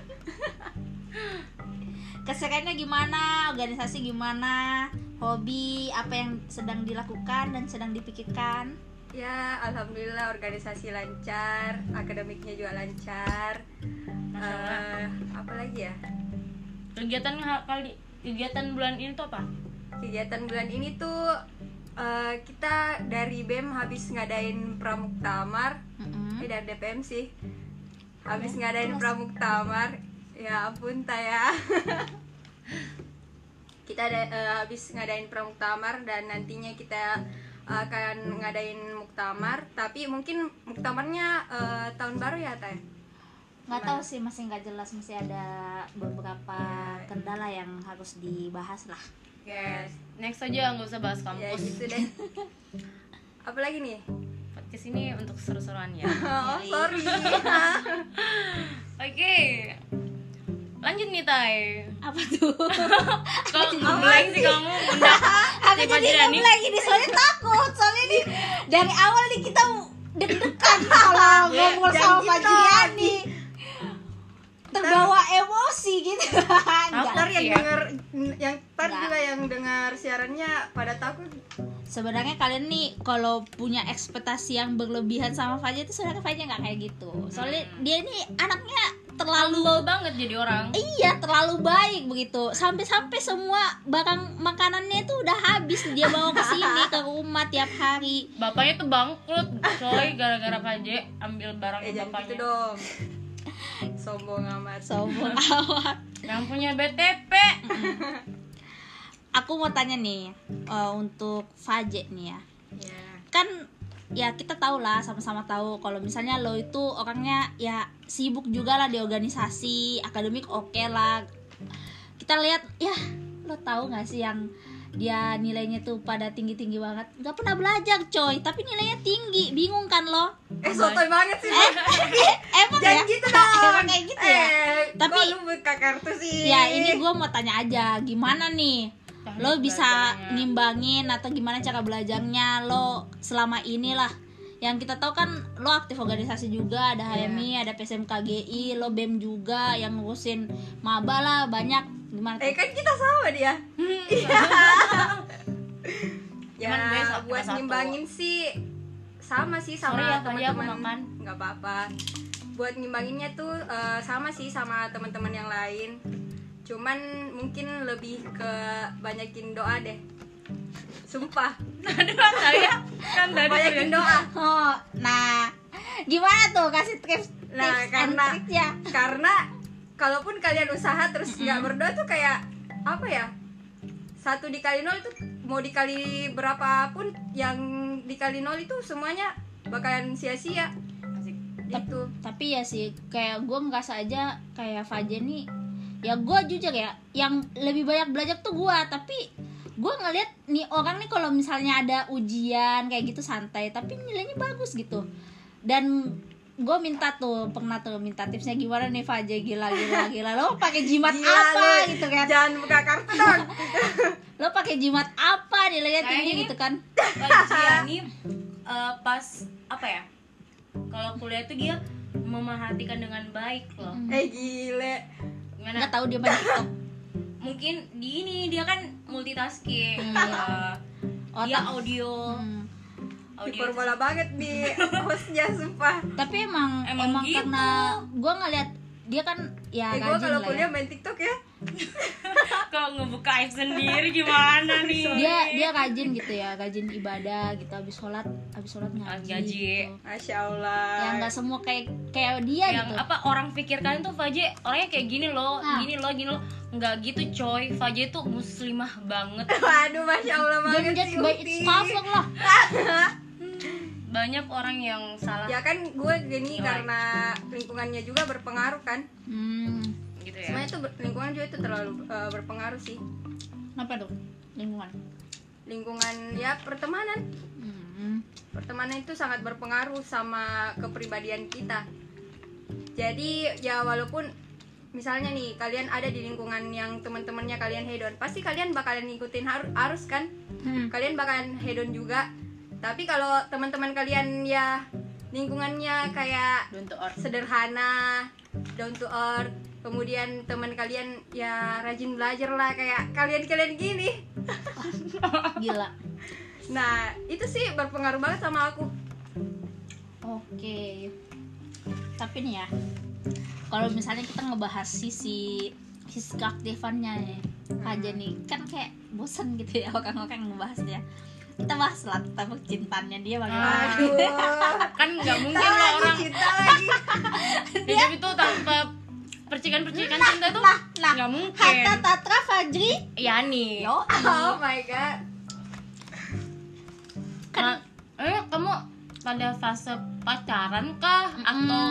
Kesehariannya gimana? Organisasi gimana? Hobi apa yang sedang dilakukan dan sedang dipikirkan?
Ya, alhamdulillah organisasi lancar, akademiknya juga lancar.
Masya Allah.
Eh, apa lagi ya?
kegiatan ha- kali kegiatan bulan ini tuh apa
kegiatan bulan ini tuh eh, kita dari BEM habis ngadain pramuktamar eh
Mm-mm.
dari DPM sih habis ngadain pramuktamar ya ampun Taya kita ada, eh, habis ngadain pramuktamar dan nantinya kita akan ngadain muktamar tapi mungkin muktamarnya eh, tahun baru ya Taya
nggak tahu sih masih nggak jelas masih ada beberapa
Ya.
kendala yang harus dibahas lah
Yes.
Next aja nggak usah bahas
Ya
kampus.
gitu deh. Apalagi nih?
Podcast ini untuk seru-seruan ya.
Oh, sorry.
Oke. Lanjut nih Tai.
apa tuh
Kok ngeblank sih kamu? Bunda.
aku
Siapa
jadi
Jirani?
ngeblank ini soalnya takut soalnya ini dari awal nih kita deg-degan kalau ngobrol sama Pak Jiriani terbawa emosi gitu Enggak.
Ntar yang
Iya.
denger yang ntar
Enggak.
juga yang dengar siarannya pada takut eh,
sebenarnya kalian nih kalau punya ekspektasi yang berlebihan sama Fajar itu sebenarnya Fajar nggak kayak gitu soalnya dia ini anaknya terlalu
Humble banget jadi orang.
Iya terlalu baik begitu sampai-sampai semua barang makanannya itu udah habis dia bawa ke sini ke rumah tiap hari
Bapaknya tuh bangkrut, coy, gara-gara Paje ambil barang
eh jangan
bapaknya.
gitu dong. Sombong amat.
sombong amat.
Yang punya BTP.
Aku mau tanya nih eh, untuk Faje nih ya
Ya.
kan ya kita tahu lah sama-sama tahu kalau misalnya lo itu orangnya ya sibuk juga lah di organisasi akademik oke lah kita lihat ya lo tahu nggak sih yang dia nilainya tuh pada tinggi tinggi banget nggak pernah belajar coy tapi nilainya tinggi bingung kan lo
Eh sotoy banget sih.
eh, eh, emang ya
Jangan gitu dong.
emang kayak gitu ya
Eh,
Tapi-
kok lu buka kartu sih.
ya ini gue mau tanya aja gimana nih lo bisa
belajarnya.
ngimbangin atau gimana cara belajarnya lo selama inilah yang kita tahu kan lo aktif organisasi juga ada
Iya.
HMI ada PSMKGI lo BEM juga yang ngurusin maba lah banyak gimana
Eh kan kita sama dia.
Iya.
ya,
Cuman gue sa-
buat
cuma satu.
ngimbangin sih sama sih sama
Sorry ya, tadi aku makan.
teman-teman. Nggak apa-apa. Buat ngimbanginnya tuh eh, sama sih sama teman-teman yang lain. Cuman mungkin lebih ke banyakin doa deh. Sumpah,
Aduh, saya kan tadi
banyakin doa.
oh nah gimana tuh kasih tips
Nah,
tips
karena-
and tricks ya
karena kalaupun kalian usaha terus nggak berdoa tuh kayak apa ya satu dikali nol itu mau dikali berapapun yang dikali nol itu semuanya bakalan sia-sia gitu
tapi ya sih kayak gue ngerasa aja kayak Fajar nih ya gue jujur ya yang lebih banyak belajar tuh gue tapi gue ngeliat nih orang nih kalau misalnya ada ujian kayak gitu santai tapi nilainya bagus gitu dan gue minta tuh pernah tuh minta tipsnya gimana nih Fajar gila gila gila lo pakai jimat
Gila,
apa
lu.
gitu kan
jangan buka kartu dong
lo pakai jimat apa nilainya
Kayak
tinggi
ini.
gitu kan
Pajiani eh, pas apa ya? Kalau kuliah tuh dia memerhatikan dengan baik loh.
eh gile
Gimana?
nggak tahu dia main TikTok
Mungkin di ini dia kan multitasking. Eh, dia
otak
audio,
Hmm.
audio.
hiperbola banget di hostnya sumpah
tapi emang emang,
Emang gitu.
karena gue ngeliat dia kan ya
eh gue
rajin
kalau
lah ya.
kuliah main tiktok ya
Kalau ngebuka aib sendiri gimana nih?
dia dia rajin gitu ya rajin ibadah gitu habis sholat habis sholat ngaji,
Ngaji.
gitu.
masya
yang
allah
nggak semua kayak kayak dia
yang
gitu
apa orang pikirkan tuh Faje orangnya kayak gini loh,
Ah.
Nah.
gini loh, gini loh. Nggak gitu coy, Faje tuh muslimah banget.
waduh masya allah
dan
banget
just
sih
Ya. by
Uti.
its cover lah
Banyak orang yang salah
ya kan gue gini
Oh,
karena
iya.
lingkungannya juga berpengaruh kan
hmm,
gitu ya.
semuanya tuh ber- lingkungan juga itu terlalu eh, berpengaruh sih
kenapa dong lingkungan
lingkungan ya pertemanan
hmm.
pertemanan itu sangat berpengaruh sama kepribadian kita jadi ya walaupun misalnya nih kalian ada di lingkungan yang teman-temannya kalian hedon pasti kalian bakalan ngikutin har- arus kan
Hmm.
kalian bakalan hedon juga tapi kalau teman-teman kalian ya lingkungannya kayak
Untuk orang
sederhana down to earth kemudian teman kalian ya rajin belajar lah kayak kalian kalian gini
gila
nah itu sih berpengaruh banget sama aku
oke tapi nih ya kalau misalnya kita ngebahas sisi sisi keaktifannya nih
Hmm.
aja nih kan kayak bosen gitu ya orang-orang ngebahasnya kita bahas lah tentang percintaannya dia bagaimana
Ah.
aduh
kan nggak mungkin
cinta
lah
lagi
orang
cinta lagi ya.
hidup itu tanpa percikan-percikan cinta tuh
lah, lah.
nggak mungkin.
Nah,
Ya,
Hatta Tatra Fajri
Ya,
Yani.
Yo
oh my god
Kan eh kamu pada fase pacaran kah atau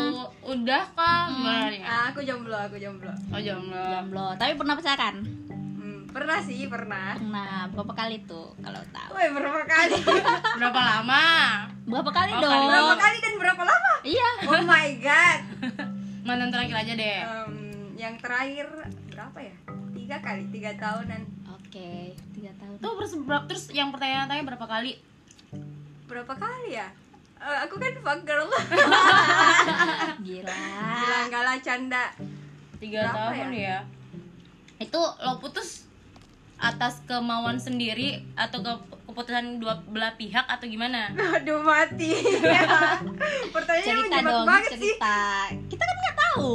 udah kah gimana nih
Ah, aku jomblo, aku jomblo.
oh jomblo
Jomblo, tapi pernah pacaran?
Hmm, pernah sih, pernah.
Pernah, berapa kali tuh kalau tahu?
Woi, berapa kali?
berapa lama
Berapa kali
Oh,
dong?
kali
berapa kali dan berapa lama?
Iya.
Oh my god.
mantan terakhir aja deh
Em, yang terakhir berapa ya? Tiga kali, tiga tahunan.
Oke, tiga tahun.
tuh terus ber- terus yang pertanyaan tanya berapa kali
Berapa kali ya? Eh, aku kan fuck girl.
ah, Gila.
Gila, enggak lah canda.
tiga
Berapa
tahun ya? itu lo putus atas kemauan sendiri atau ke keputusan dua belah pihak atau gimana
Aduh mati. Ya. Pertanyaannya
Cerita
menjebak
dong,
Iya, banget sih.
cerita. Kita kan nggak tahu.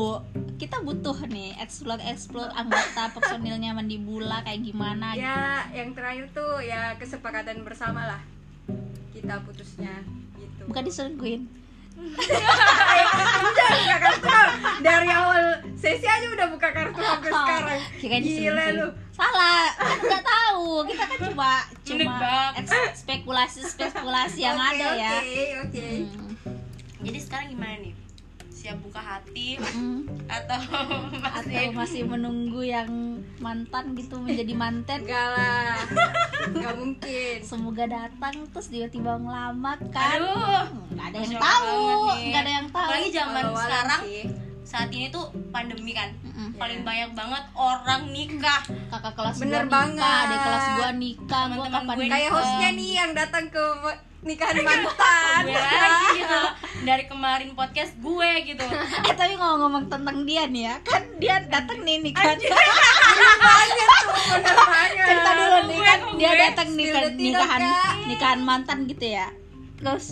Kita butuh nih explore explore anggota personilnya Mandibula kayak gimana gitu.
Ya, yang terakhir tuh ya kesepakatan bersama lah. Kita putusnya gitu.
Bukan diselingkuhin.
Udah buka kartu dari awal sesi aja udah buka kartu sampai sekarang.
Oh, Kirain
Gila
diselingkuhin.
lu.
Salah, kan nggak tahu. Kita kan cuma cuma
Menebak.
eks- spekulasi spekulasi yang
Oke,
ada ya.
Oke, oke.
Hmm.
jadi sekarang gimana nih siap buka hati
Hmm.
atau
Atau masih menunggu yang mantan gitu menjadi mantan
Enggak lah. Enggak mungkin.
semoga datang terus tiba-tiba ngelamar kan
aduh
nggak ada yang
Masya
tahu
Allah banget nih.
nggak ada yang tahu
apalagi zaman
Walau alam
sekarang
sih.
saat ini tuh pandemi kan
Mm-mm.
paling banyak banget orang nikah
kakak kelas
Bener
gua nikah
banget.
ada kelas gua nikah gua
Teman-teman
kapan
gue
nikah?
kayak hostnya nih yang datang ke nikahan mantan.
gue Kan lagi gitu dari kemarin podcast gue gitu
eh tapi ngomong-ngomong tentang dia nih ya kan dia datang nih nikah
Banyak tuh, bener banget.
cerita dulu nih kan
Gue,
dia
gue.
datang nih
Iya, Spill
kan
the tea dong,
nikahan
Kak.
nikahan mantan gitu ya terus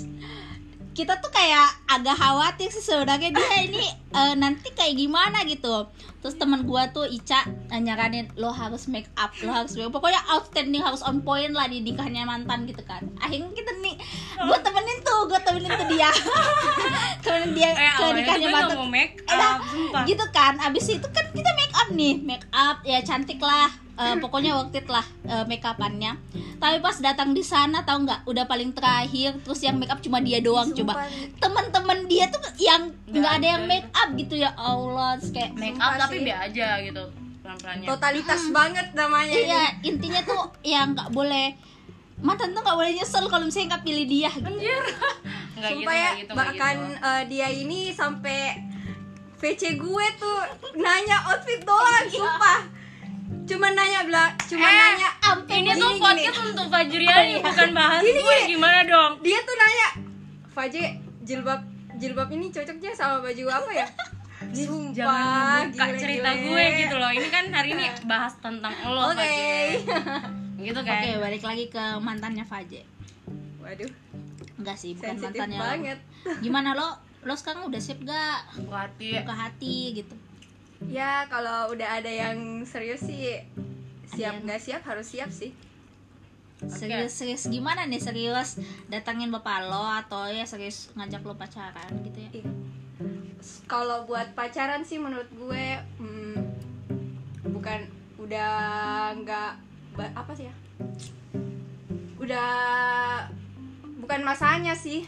kita tuh kayak agak khawatir sih sebenarnya dia ini eh, nanti kayak gimana gitu terus teman gua tuh Ica eh, nyaranin lo harus make up lo harus make up." pokoknya outstanding harus on point lah di nikahnya mantan gitu kan akhirnya kita nih gua temenin tuh gua temenin tuh dia temenin dia
eh
ke
awalnya tuh
nikahnya
gue
mantan
gak mau make
Elah,
up sumpah
gitu kan abis itu kan kita make up nih make up ya cantik lah Eh, pokoknya waktu it lah eh, make upannya tapi pas datang di sana tahu nggak udah paling terakhir terus yang make up cuma dia doang coba
Sumpah nih.
teman-teman dia tuh yang nggak ada yang
ada.
make up gitu ya allah terus kayak
make
Sumpah
up tapi
sih.
biar aja gitu pelan-pelannya
Totalitas banget namanya ini.
Hmm. iya intinya tuh yang nggak boleh mantan tuh nggak boleh nyesel kalau misalnya nggak pilih dia gitu.
Enggak gitu, nggak
Sumpah ya,
gitu, nggak
bahkan
gitu.
eh, dia ini sampai VC gue tuh nanya outfit doang,
Iya.
sumpah. Cuma nanya belak, cuma
Eh,
nanya
sampai
ini
gini,
tuh
gini.
podcast untuk Fajriani bukan bahas gue gimana dong.
Dia tuh nanya, Faje jilbab jilbab ini cocoknya sama baju apa ya?
Jangan
Sumpah,
buka
gile,
cerita
gile.
gue gitu loh. Ini kan hari ini bahas tentang lo
Oke.
Fajri. Gitu
oke
kan.
balik lagi ke mantannya Faje
Waduh,
enggak sih bukan
sensitif
mantannya
banget.
gimana lo lo sekarang udah siap gak
Buka hati.
buka hati gitu
Ya, kalau udah ada yang serius
Ada
sih
yang-
Iya.
siap nggak siap harus siap sih.
serius-serius gimana nih serius datangin bapak lo atau ya serius ngajak lo pacaran gitu ya
kalau buat pacaran sih menurut gue hmm, bukan udah nggak ba- apa sih ya udah bukan masanya sih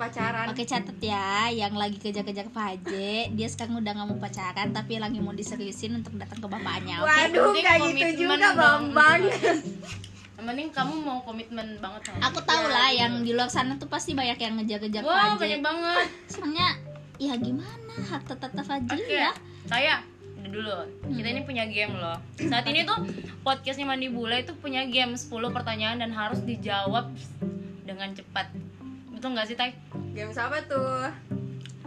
Nah,
pacaran
oke catet ya yang lagi kejar-kejar Pak Haji dia sekarang udah nggak mau pacaran tapi lagi mau diseriusin untuk datang ke bapaknya oke
waduh
penting
nggak gitu
komitmen
juga
dong.
bambang
Yang penting kamu mau komitmen banget sama
aku tahu lah yang di luar sana tuh pasti banyak yang ngejar-ngejar Pak
Wow, banyak
Haji
banget.
soalnya ya gimana hak tetap Haji
Oke.
ya
Saya udah dulu. Kita ini punya game loh. Saat ini tuh podcastnya Mandi Bula itu punya game 10 pertanyaan dan harus dijawab dengan cepat. Betul nggak sih, Tai?
game apa tuh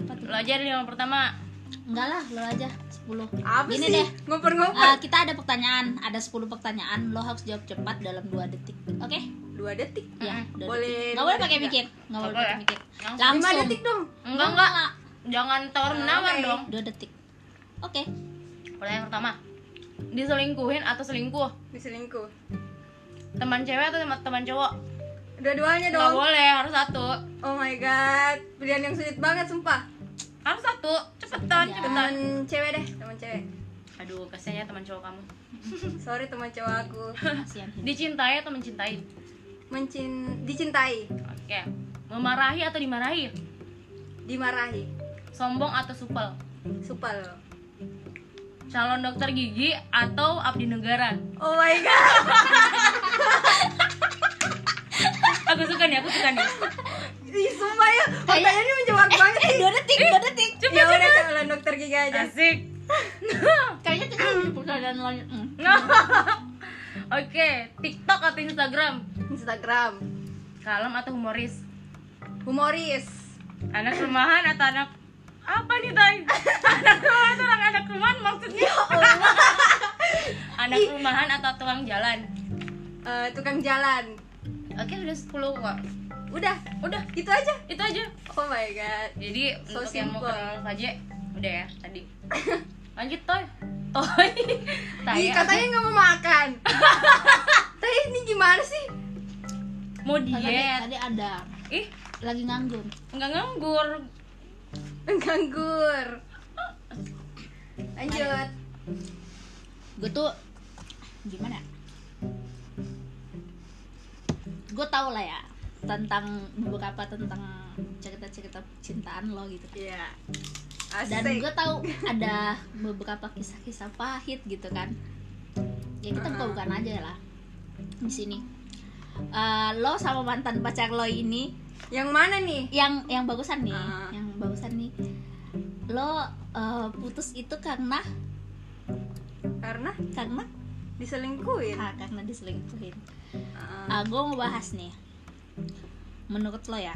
apa tuh
Lo aja deh yang pertama.
enggak lah lo aja 10
apa
Gini
sih
deh.
ngoper-ngoper
Eh, kita ada pertanyaan, ada 10 pertanyaan, lo harus jawab cepat dalam 2 detik. Oke?
dua detik
Ya, dua
Boleh
detik.
dua
Nggak boleh pakai
detik
mikir, nggak boleh
Nggak
pakai
boleh.
mikir.
Langsung.
lima
Langsung.
detik dong
Enggak, enggak. Jangan tawar menawar
Oke.
dong.
2 detik. Oke.
Pertanyaan pertama. Diselingkuhin atau selingkuh?
diselingkuh
Teman cewek atau teman, teman cowok?
dua-duanya
Enggak
dong
boleh, harus satu.
oh my god pilihan yang sulit banget sumpah
Harus satu. Cepetan,
Ya.
cepetan.
teman cewek deh teman cewek
Aduh, kasihannya teman cowok kamu.
sorry teman cowok aku
Kasihan.
Dicintai atau mencintai?
mencin dicintai
Oke. memarahi atau dimarahi
dimarahi
sombong atau supel
supel
calon dokter gigi atau abdi negara
oh my god
aku suka nih aku suka nih
Ih, sumpah ya pertanyaannya menjawab banget sih
dua detik dua detik
ya udah kalau dokter gigi aja
asik
kayaknya kita lebih pertanyaan lanjut hmm.
oke tiktok atau instagram
Instagram
kalem atau humoris
humoris
anak rumahan atau anak apa nih tay anak rumahan atau orang anak rumahan
Ya
maksudnya anak rumahan atau tukang jalan
Eh, tukang jalan
oke udah 10 kok
udah
udah
gitu aja
itu aja
oh my god
jadi
So
untuk yang mau
simple.
kenal saja udah ya tadi lanjut toy toy
Ih,
tanya
katanya nggak mau makan tapi ini gimana sih
mau
tadi,
diet
tadi ada
ih
lagi nganggur
nggak nganggur
Nganggur. Lanjut.
gue tuh gimana gue tau lah ya tentang beberapa tentang cerita-cerita cintaan lo gitu
Iya.
dan
Asik.
gue tahu ada beberapa kisah-kisah pahit gitu kan ya kita buka bukan aja lah di sini Eh, lo sama mantan pacar lo ini
Yang mana nih?
yang yang bagusan nih
Ah.
yang bagusan nih lo eh, putus itu karena
Karena
karena
diselingkuhin.
ah, karena diselingkuhin
Heeh.
ah gue mau bahas nih menurut lo ya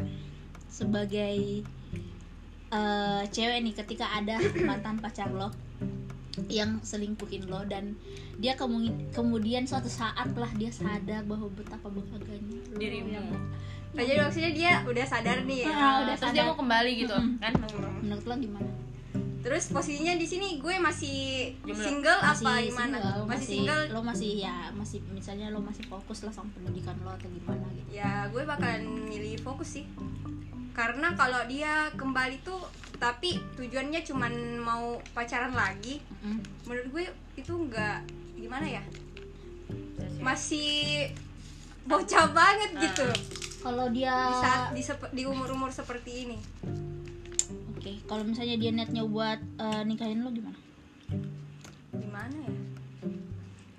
sebagai eh, cewek nih ketika ada mantan pacar lo yang selingkuhin lo dan dia kemungin- kemudian suatu saat lah dia sadar bahwa betapa berharganya lo
Dirimu.
yang
Nah, jadi maksudnya dia udah sadar nih ya.
Ah, udah
terus dia
sadar.
mau kembali gitu
Mm-mm.
kan
menurut lo gimana
Terus posisinya di sini gue masih
Jomblo.
single apa
Masih
gimana?
single,
masih, single.
lo masih ya masih misalnya lo masih fokus lah sama pendidikan lo atau gimana gitu
Ya, gue bakalan milih fokus sih. Karena kalau dia kembali tuh tapi tujuannya cuman mau pacaran lagi,
Mm-mm.
menurut gue itu nggak gimana ya? Iya.
mas
Masih bocah banget gitu.
kalau dia
di saat di, sep- di umur-umur seperti ini
oke kalau misalnya dia niatnya buat eh, nikahin lo gimana
gimana ya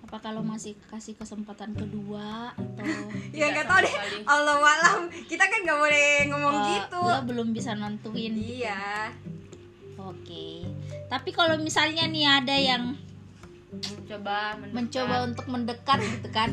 apa kalau masih kasih kesempatan kedua atau
ya nggak tahu deh Allah malam kita kan nggak boleh
Oh,
ngomong
eh,
gitu
lo belum bisa nentuin
iya
oke tapi kalau misalnya nih ada yang
mencoba mendekat.
mencoba untuk mendekat gitu kan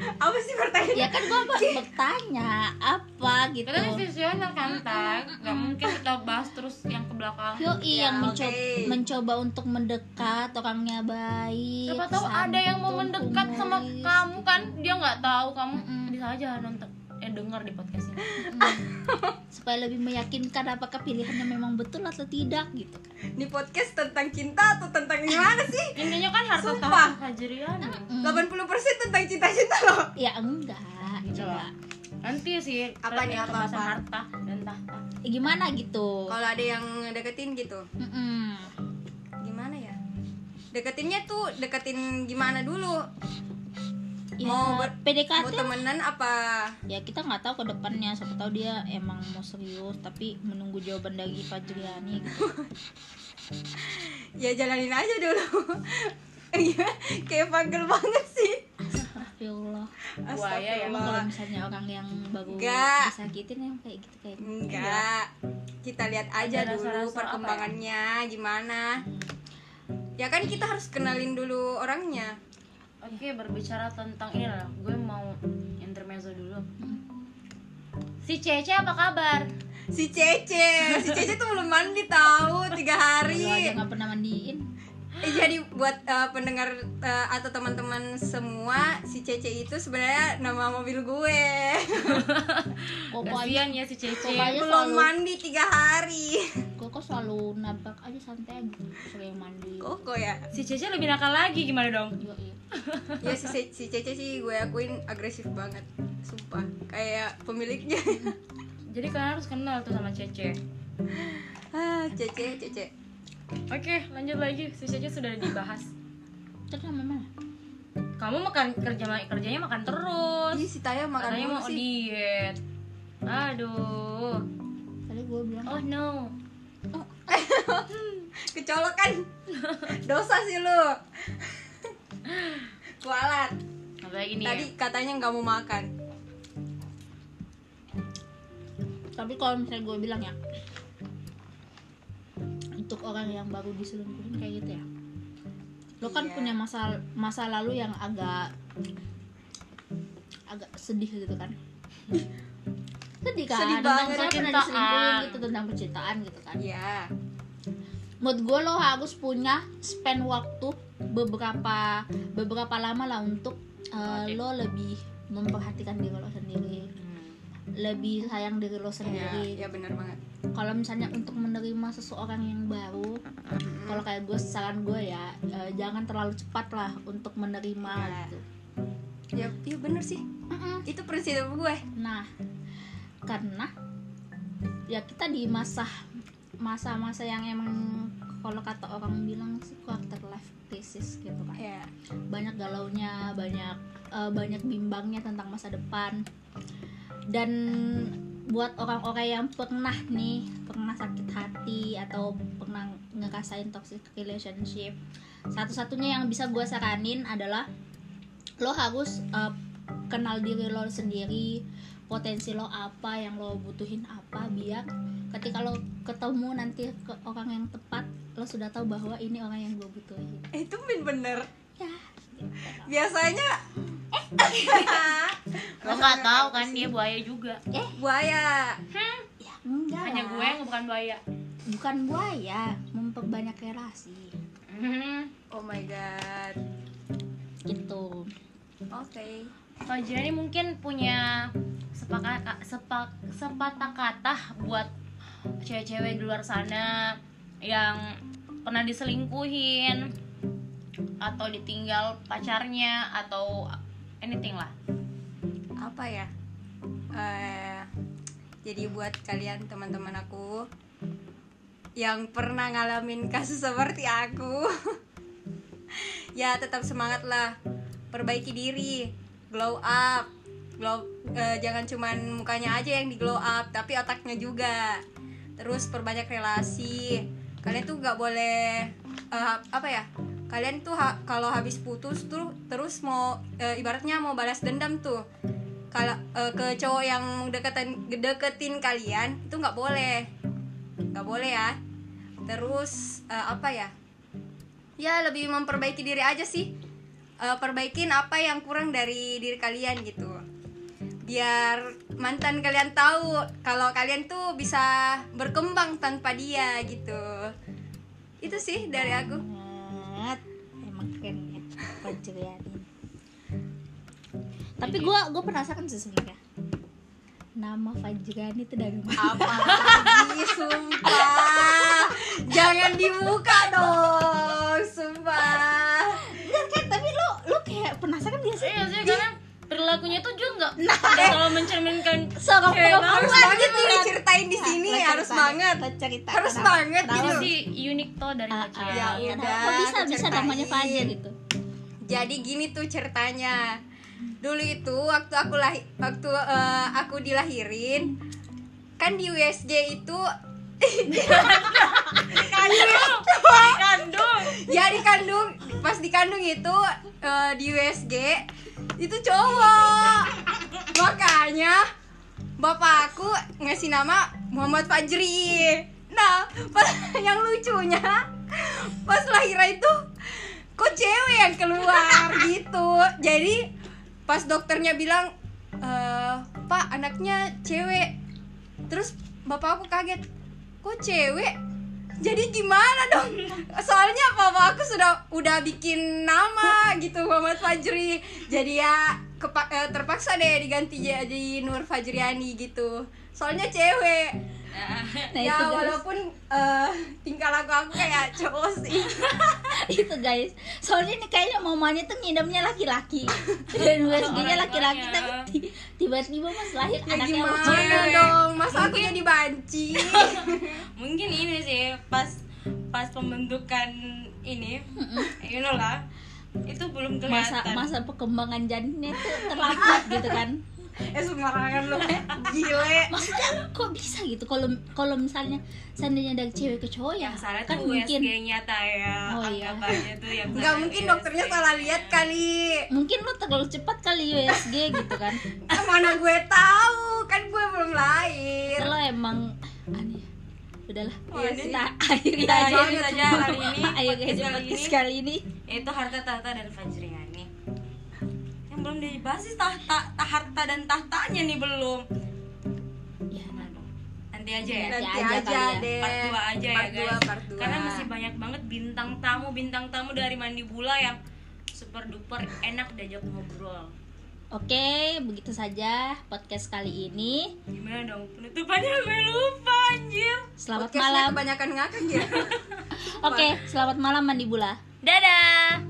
apa sih pertanyaan
ya kan gua pas bertanya apa gitu
kita kan visioner kan tay nggak mungkin kita bahas terus yang ke belakang
Yoi
Ya,
yang mencoba,
oke.
mencoba untuk mendekat orangnya baik
siapa tahu ada yang mau
santun,
mendekat sama
humoris.
kamu kan dia nggak tahu kamu bisa aja nonton eh dengar di podcast ini
supaya lebih meyakinkan apakah pilihannya memang betul atau tidak gitu kan
di podcast tentang cinta atau tentang gimana sih
intinya kan harta
Sumpah.
tahun fajrian
80% tentang cinta-cinta loh
ya enggak coba
nanti sih
Apa nih,
tren
apa-apa?
pembahasan harta dan tahta
Eh, gimana gitu
kalau ada yang deketin gitu
Mm-mm.
gimana ya deketinnya tuh deketin gimana dulu
ya,
Mau ber-
PDKT
mau temenan apa
ya kita nggak tahu ke depannya siapa tahu dia emang mau serius tapi menunggu jawaban dari Fajriani gitu.
ya jalanin aja dulu Gimana? kayak panggil banget sih
Astagfirullah. Emang Ya
Buaya ya,
kalau
Astagfirullah.
misalnya orang yang baru
Enggak.
disakitin yang kayak gitu kayak
Enggak. Kita lihat aja
Ada
dulu
rasa-rasa ya?
perkembangannya gimana. Ya kan kita harus kenalin dulu orangnya.
oke berbicara tentang ini lah gue mau intermezzo dulu si Cece apa kabar
Si Cece, si Cece tuh belum mandi tahu
Lu
tiga
aja
hari.
nggak pernah mandiin.
Eh, jadi buat eh, pendengar eh, atau teman-teman semua, si Cece itu sebenarnya nama mobil gue.
Pokoknya
kasian ya si Cece
pokoknya
belum
selalu
mandi tiga hari.
kok kok selalu nabrak aja santai aja sering mandi.
Koko ya.
si Cece lebih nakal lagi gimana dong
Yo, iya.
Ya si, Ce- si Cece sih gue akuin agresif banget. Sumpah, kayak pemiliknya.
jadi kalian harus kenal tuh sama Cece
ah, Cece, Cece.
oke lanjut lagi si Cece sudah dibahas
Terus sama mana?
kamu makan kerja kerjanya makan terus
Ih, si Taya makan
katanya
mulu
mau
sih.
diet Aduh.
Tadi gue bilang
Oh no.
Kecolokan. Dosa sih lu. Kualat.
Apalagi nih.
Tadi katanya nggak mau makan.
tapi kalau misalnya gue bilang ya untuk orang yang baru diselingkuhin kayak gitu ya lo kan
Iya.
punya masa masa lalu yang agak agak sedih gitu kan sedih kan
Sedih
tentang saya
banget,
pernah
percintaan.
diselingkuhin gitu tentang percintaan gitu kan
Iya.
menurut gue lo harus punya spend waktu beberapa beberapa lama lah untuk uh,
Oke.
lo lebih memperhatikan diri lo sendiri lebih sayang diri lo
Hmm. Iya,
sendiri
iya benar banget.
kalau misalnya untuk menerima seseorang yang baru kalau kayak gue saran gue ya eh, jangan terlalu cepat lah untuk menerima
Iya.
gitu.
Ya, iya bener sih.
Mm-mm.
Itu prinsip gue.
nah karena ya kita di masa masa-masa yang emang kalau kata orang bilang sih quarter life crisis gitu kan
Iya.
banyak galaunya banyak eh, banyak bimbangnya tentang masa depan dan buat orang-orang yang pernah nih pernah sakit hati atau pernah ngerasain toxic relationship satu-satunya yang bisa gue saranin adalah lo harus eh, kenal diri lo sendiri potensi lo apa yang lo butuhin apa biar ketika lo ketemu nanti ke orang yang tepat lo sudah tahu bahwa ini orang yang gue butuhin
Itu bener.
ya
Biasanya
Lo nggak tahu kan dia buaya juga.
buaya.
ya enggak
Hanya
lah.
gue yang bukan buaya.
bukan buaya memperbanyak relasi
Hmm.
Oh my god.
gitu
Oke.
Fajra ini mungkin punya sepakat sepak sepatah kata buat cewek-cewek di luar sana yang pernah diselingkuhin atau ditinggal pacarnya atau anything lah.
apa ya Eh, jadi buat kalian teman-teman aku yang pernah ngalamin kasus seperti aku ya tetap semangat lah perbaiki diri glow up glow eh, jangan cuman mukanya aja yang di glow up tapi otaknya juga terus perbanyak relasi kalian tuh nggak boleh eh, apa ya kalian tuh ha- kalau habis putus tuh terus mau eh, ibaratnya mau balas dendam tuh kalau eh, ke cowok yang deketin deketin kalian itu nggak boleh nggak boleh ya terus eh, apa ya ya lebih memperbaiki diri aja sih Eh, perbaikin apa yang kurang dari diri kalian gitu biar mantan kalian tahu kalau kalian tuh bisa berkembang tanpa dia gitu itu sih dari aku
banget emang keren ya pencurianin tapi gue gue penasaran sih sebenarnya nama Fajrani itu dari mana
apa lagi sumpah jangan dibuka dong sumpah
Enggak, kan tapi lu lu kayak penasaran dia sih
Iya sih karena perilakunya tuh juga nggak nggak terlalu mencerminkan
seorang perempuan
harus banget
gitu
nih
kan.
diceritain di
Ya,
sini
lo
harus
ceritain,
banget
lo ceritain.
harus
Kenapa?
banget
itu
Kenapa?
gitu
sih unik tuh dari
Ah,
pacar.
ah,
Ya
iya.
udah,
Kok bisa bisa
ceritain.
namanya Fajr gitu
jadi gini tuh ceritanya dulu itu waktu aku lahi- waktu eh, aku dilahirin kan di USJ itu
Kandung.
ya di kandung pas di kandung itu eh, di USG itu cowok makanya bapak aku ngasih nama Muhammad Fajri nah pas yang lucunya pas lahiran itu kok cewek yang keluar gitu jadi pas dokternya bilang "Eh, pak anaknya cewek terus bapak aku kaget kok cewek jadi gimana dong soalnya papa aku sudah udah bikin nama gitu Muhammad Fajri jadi ya kepa- eh, terpaksa deh diganti jadi Nur Fajriani gitu soalnya cewek
nah
ya
itu guys
walaupun eh, tingkah laku aku kayak cowok sih
itu Gitu, guys soalnya ini kayaknya mamanya tuh ngidamnya laki-laki dan USG-nya laki-lati
orangnya.
tapi ti- tiba-tiba mas lahir
ya
anaknya
gimana
cewek.
dong masa aku jadi banci
mungkin ini sih pas pas pembentukan ini you know lah itu belum
masa
kelihatan
masa perkembangan janinnya itu terlambat gitu kan
eh sembarangan lu gile
maksudnya kok bisa gitu kalau kalau misalnya seandainya dari cewek ke cowok ya
yang salah
kan
tuh
mungkin
USG-nya Taya
Oh,
oh,
iya.
anggapannya tuh yang
nggak
salah ya.
mungkin
USG.
dokternya salah lihat kali
mungkin lo terlalu cepat kali USG gitu kan
Ah, mana gue tahu kan gue belum lahir
lo emang aneh udahlah
Iya. Oh,
ya
ini-
kita akhirnya
Kita
aja
gitu.
akhirin Nah, saja kali ini,
akhirnya aja
kali
podcast
ini.
kali ini
Ya, itu harta tahta dan Fajriani yang belum dibahas sih tahta ta- harta dan tahtanya nih belum
ya
Mana dong? nanti aja ya
nanti
aja
aja,
kali ya.
deh
part 2 aja
part
ya guys
2 part 2
karena masih banyak banget bintang tamu bintang tamu dari mandi bula yang super duper enak diajak ngobrol
oke begitu saja podcast kali ini
gimana dong penutupannya gue lupa anjir
selamat
Podcastnya
malam
ya? kebanyakan ngakak gitu
oke selamat malam mandi bula
dadah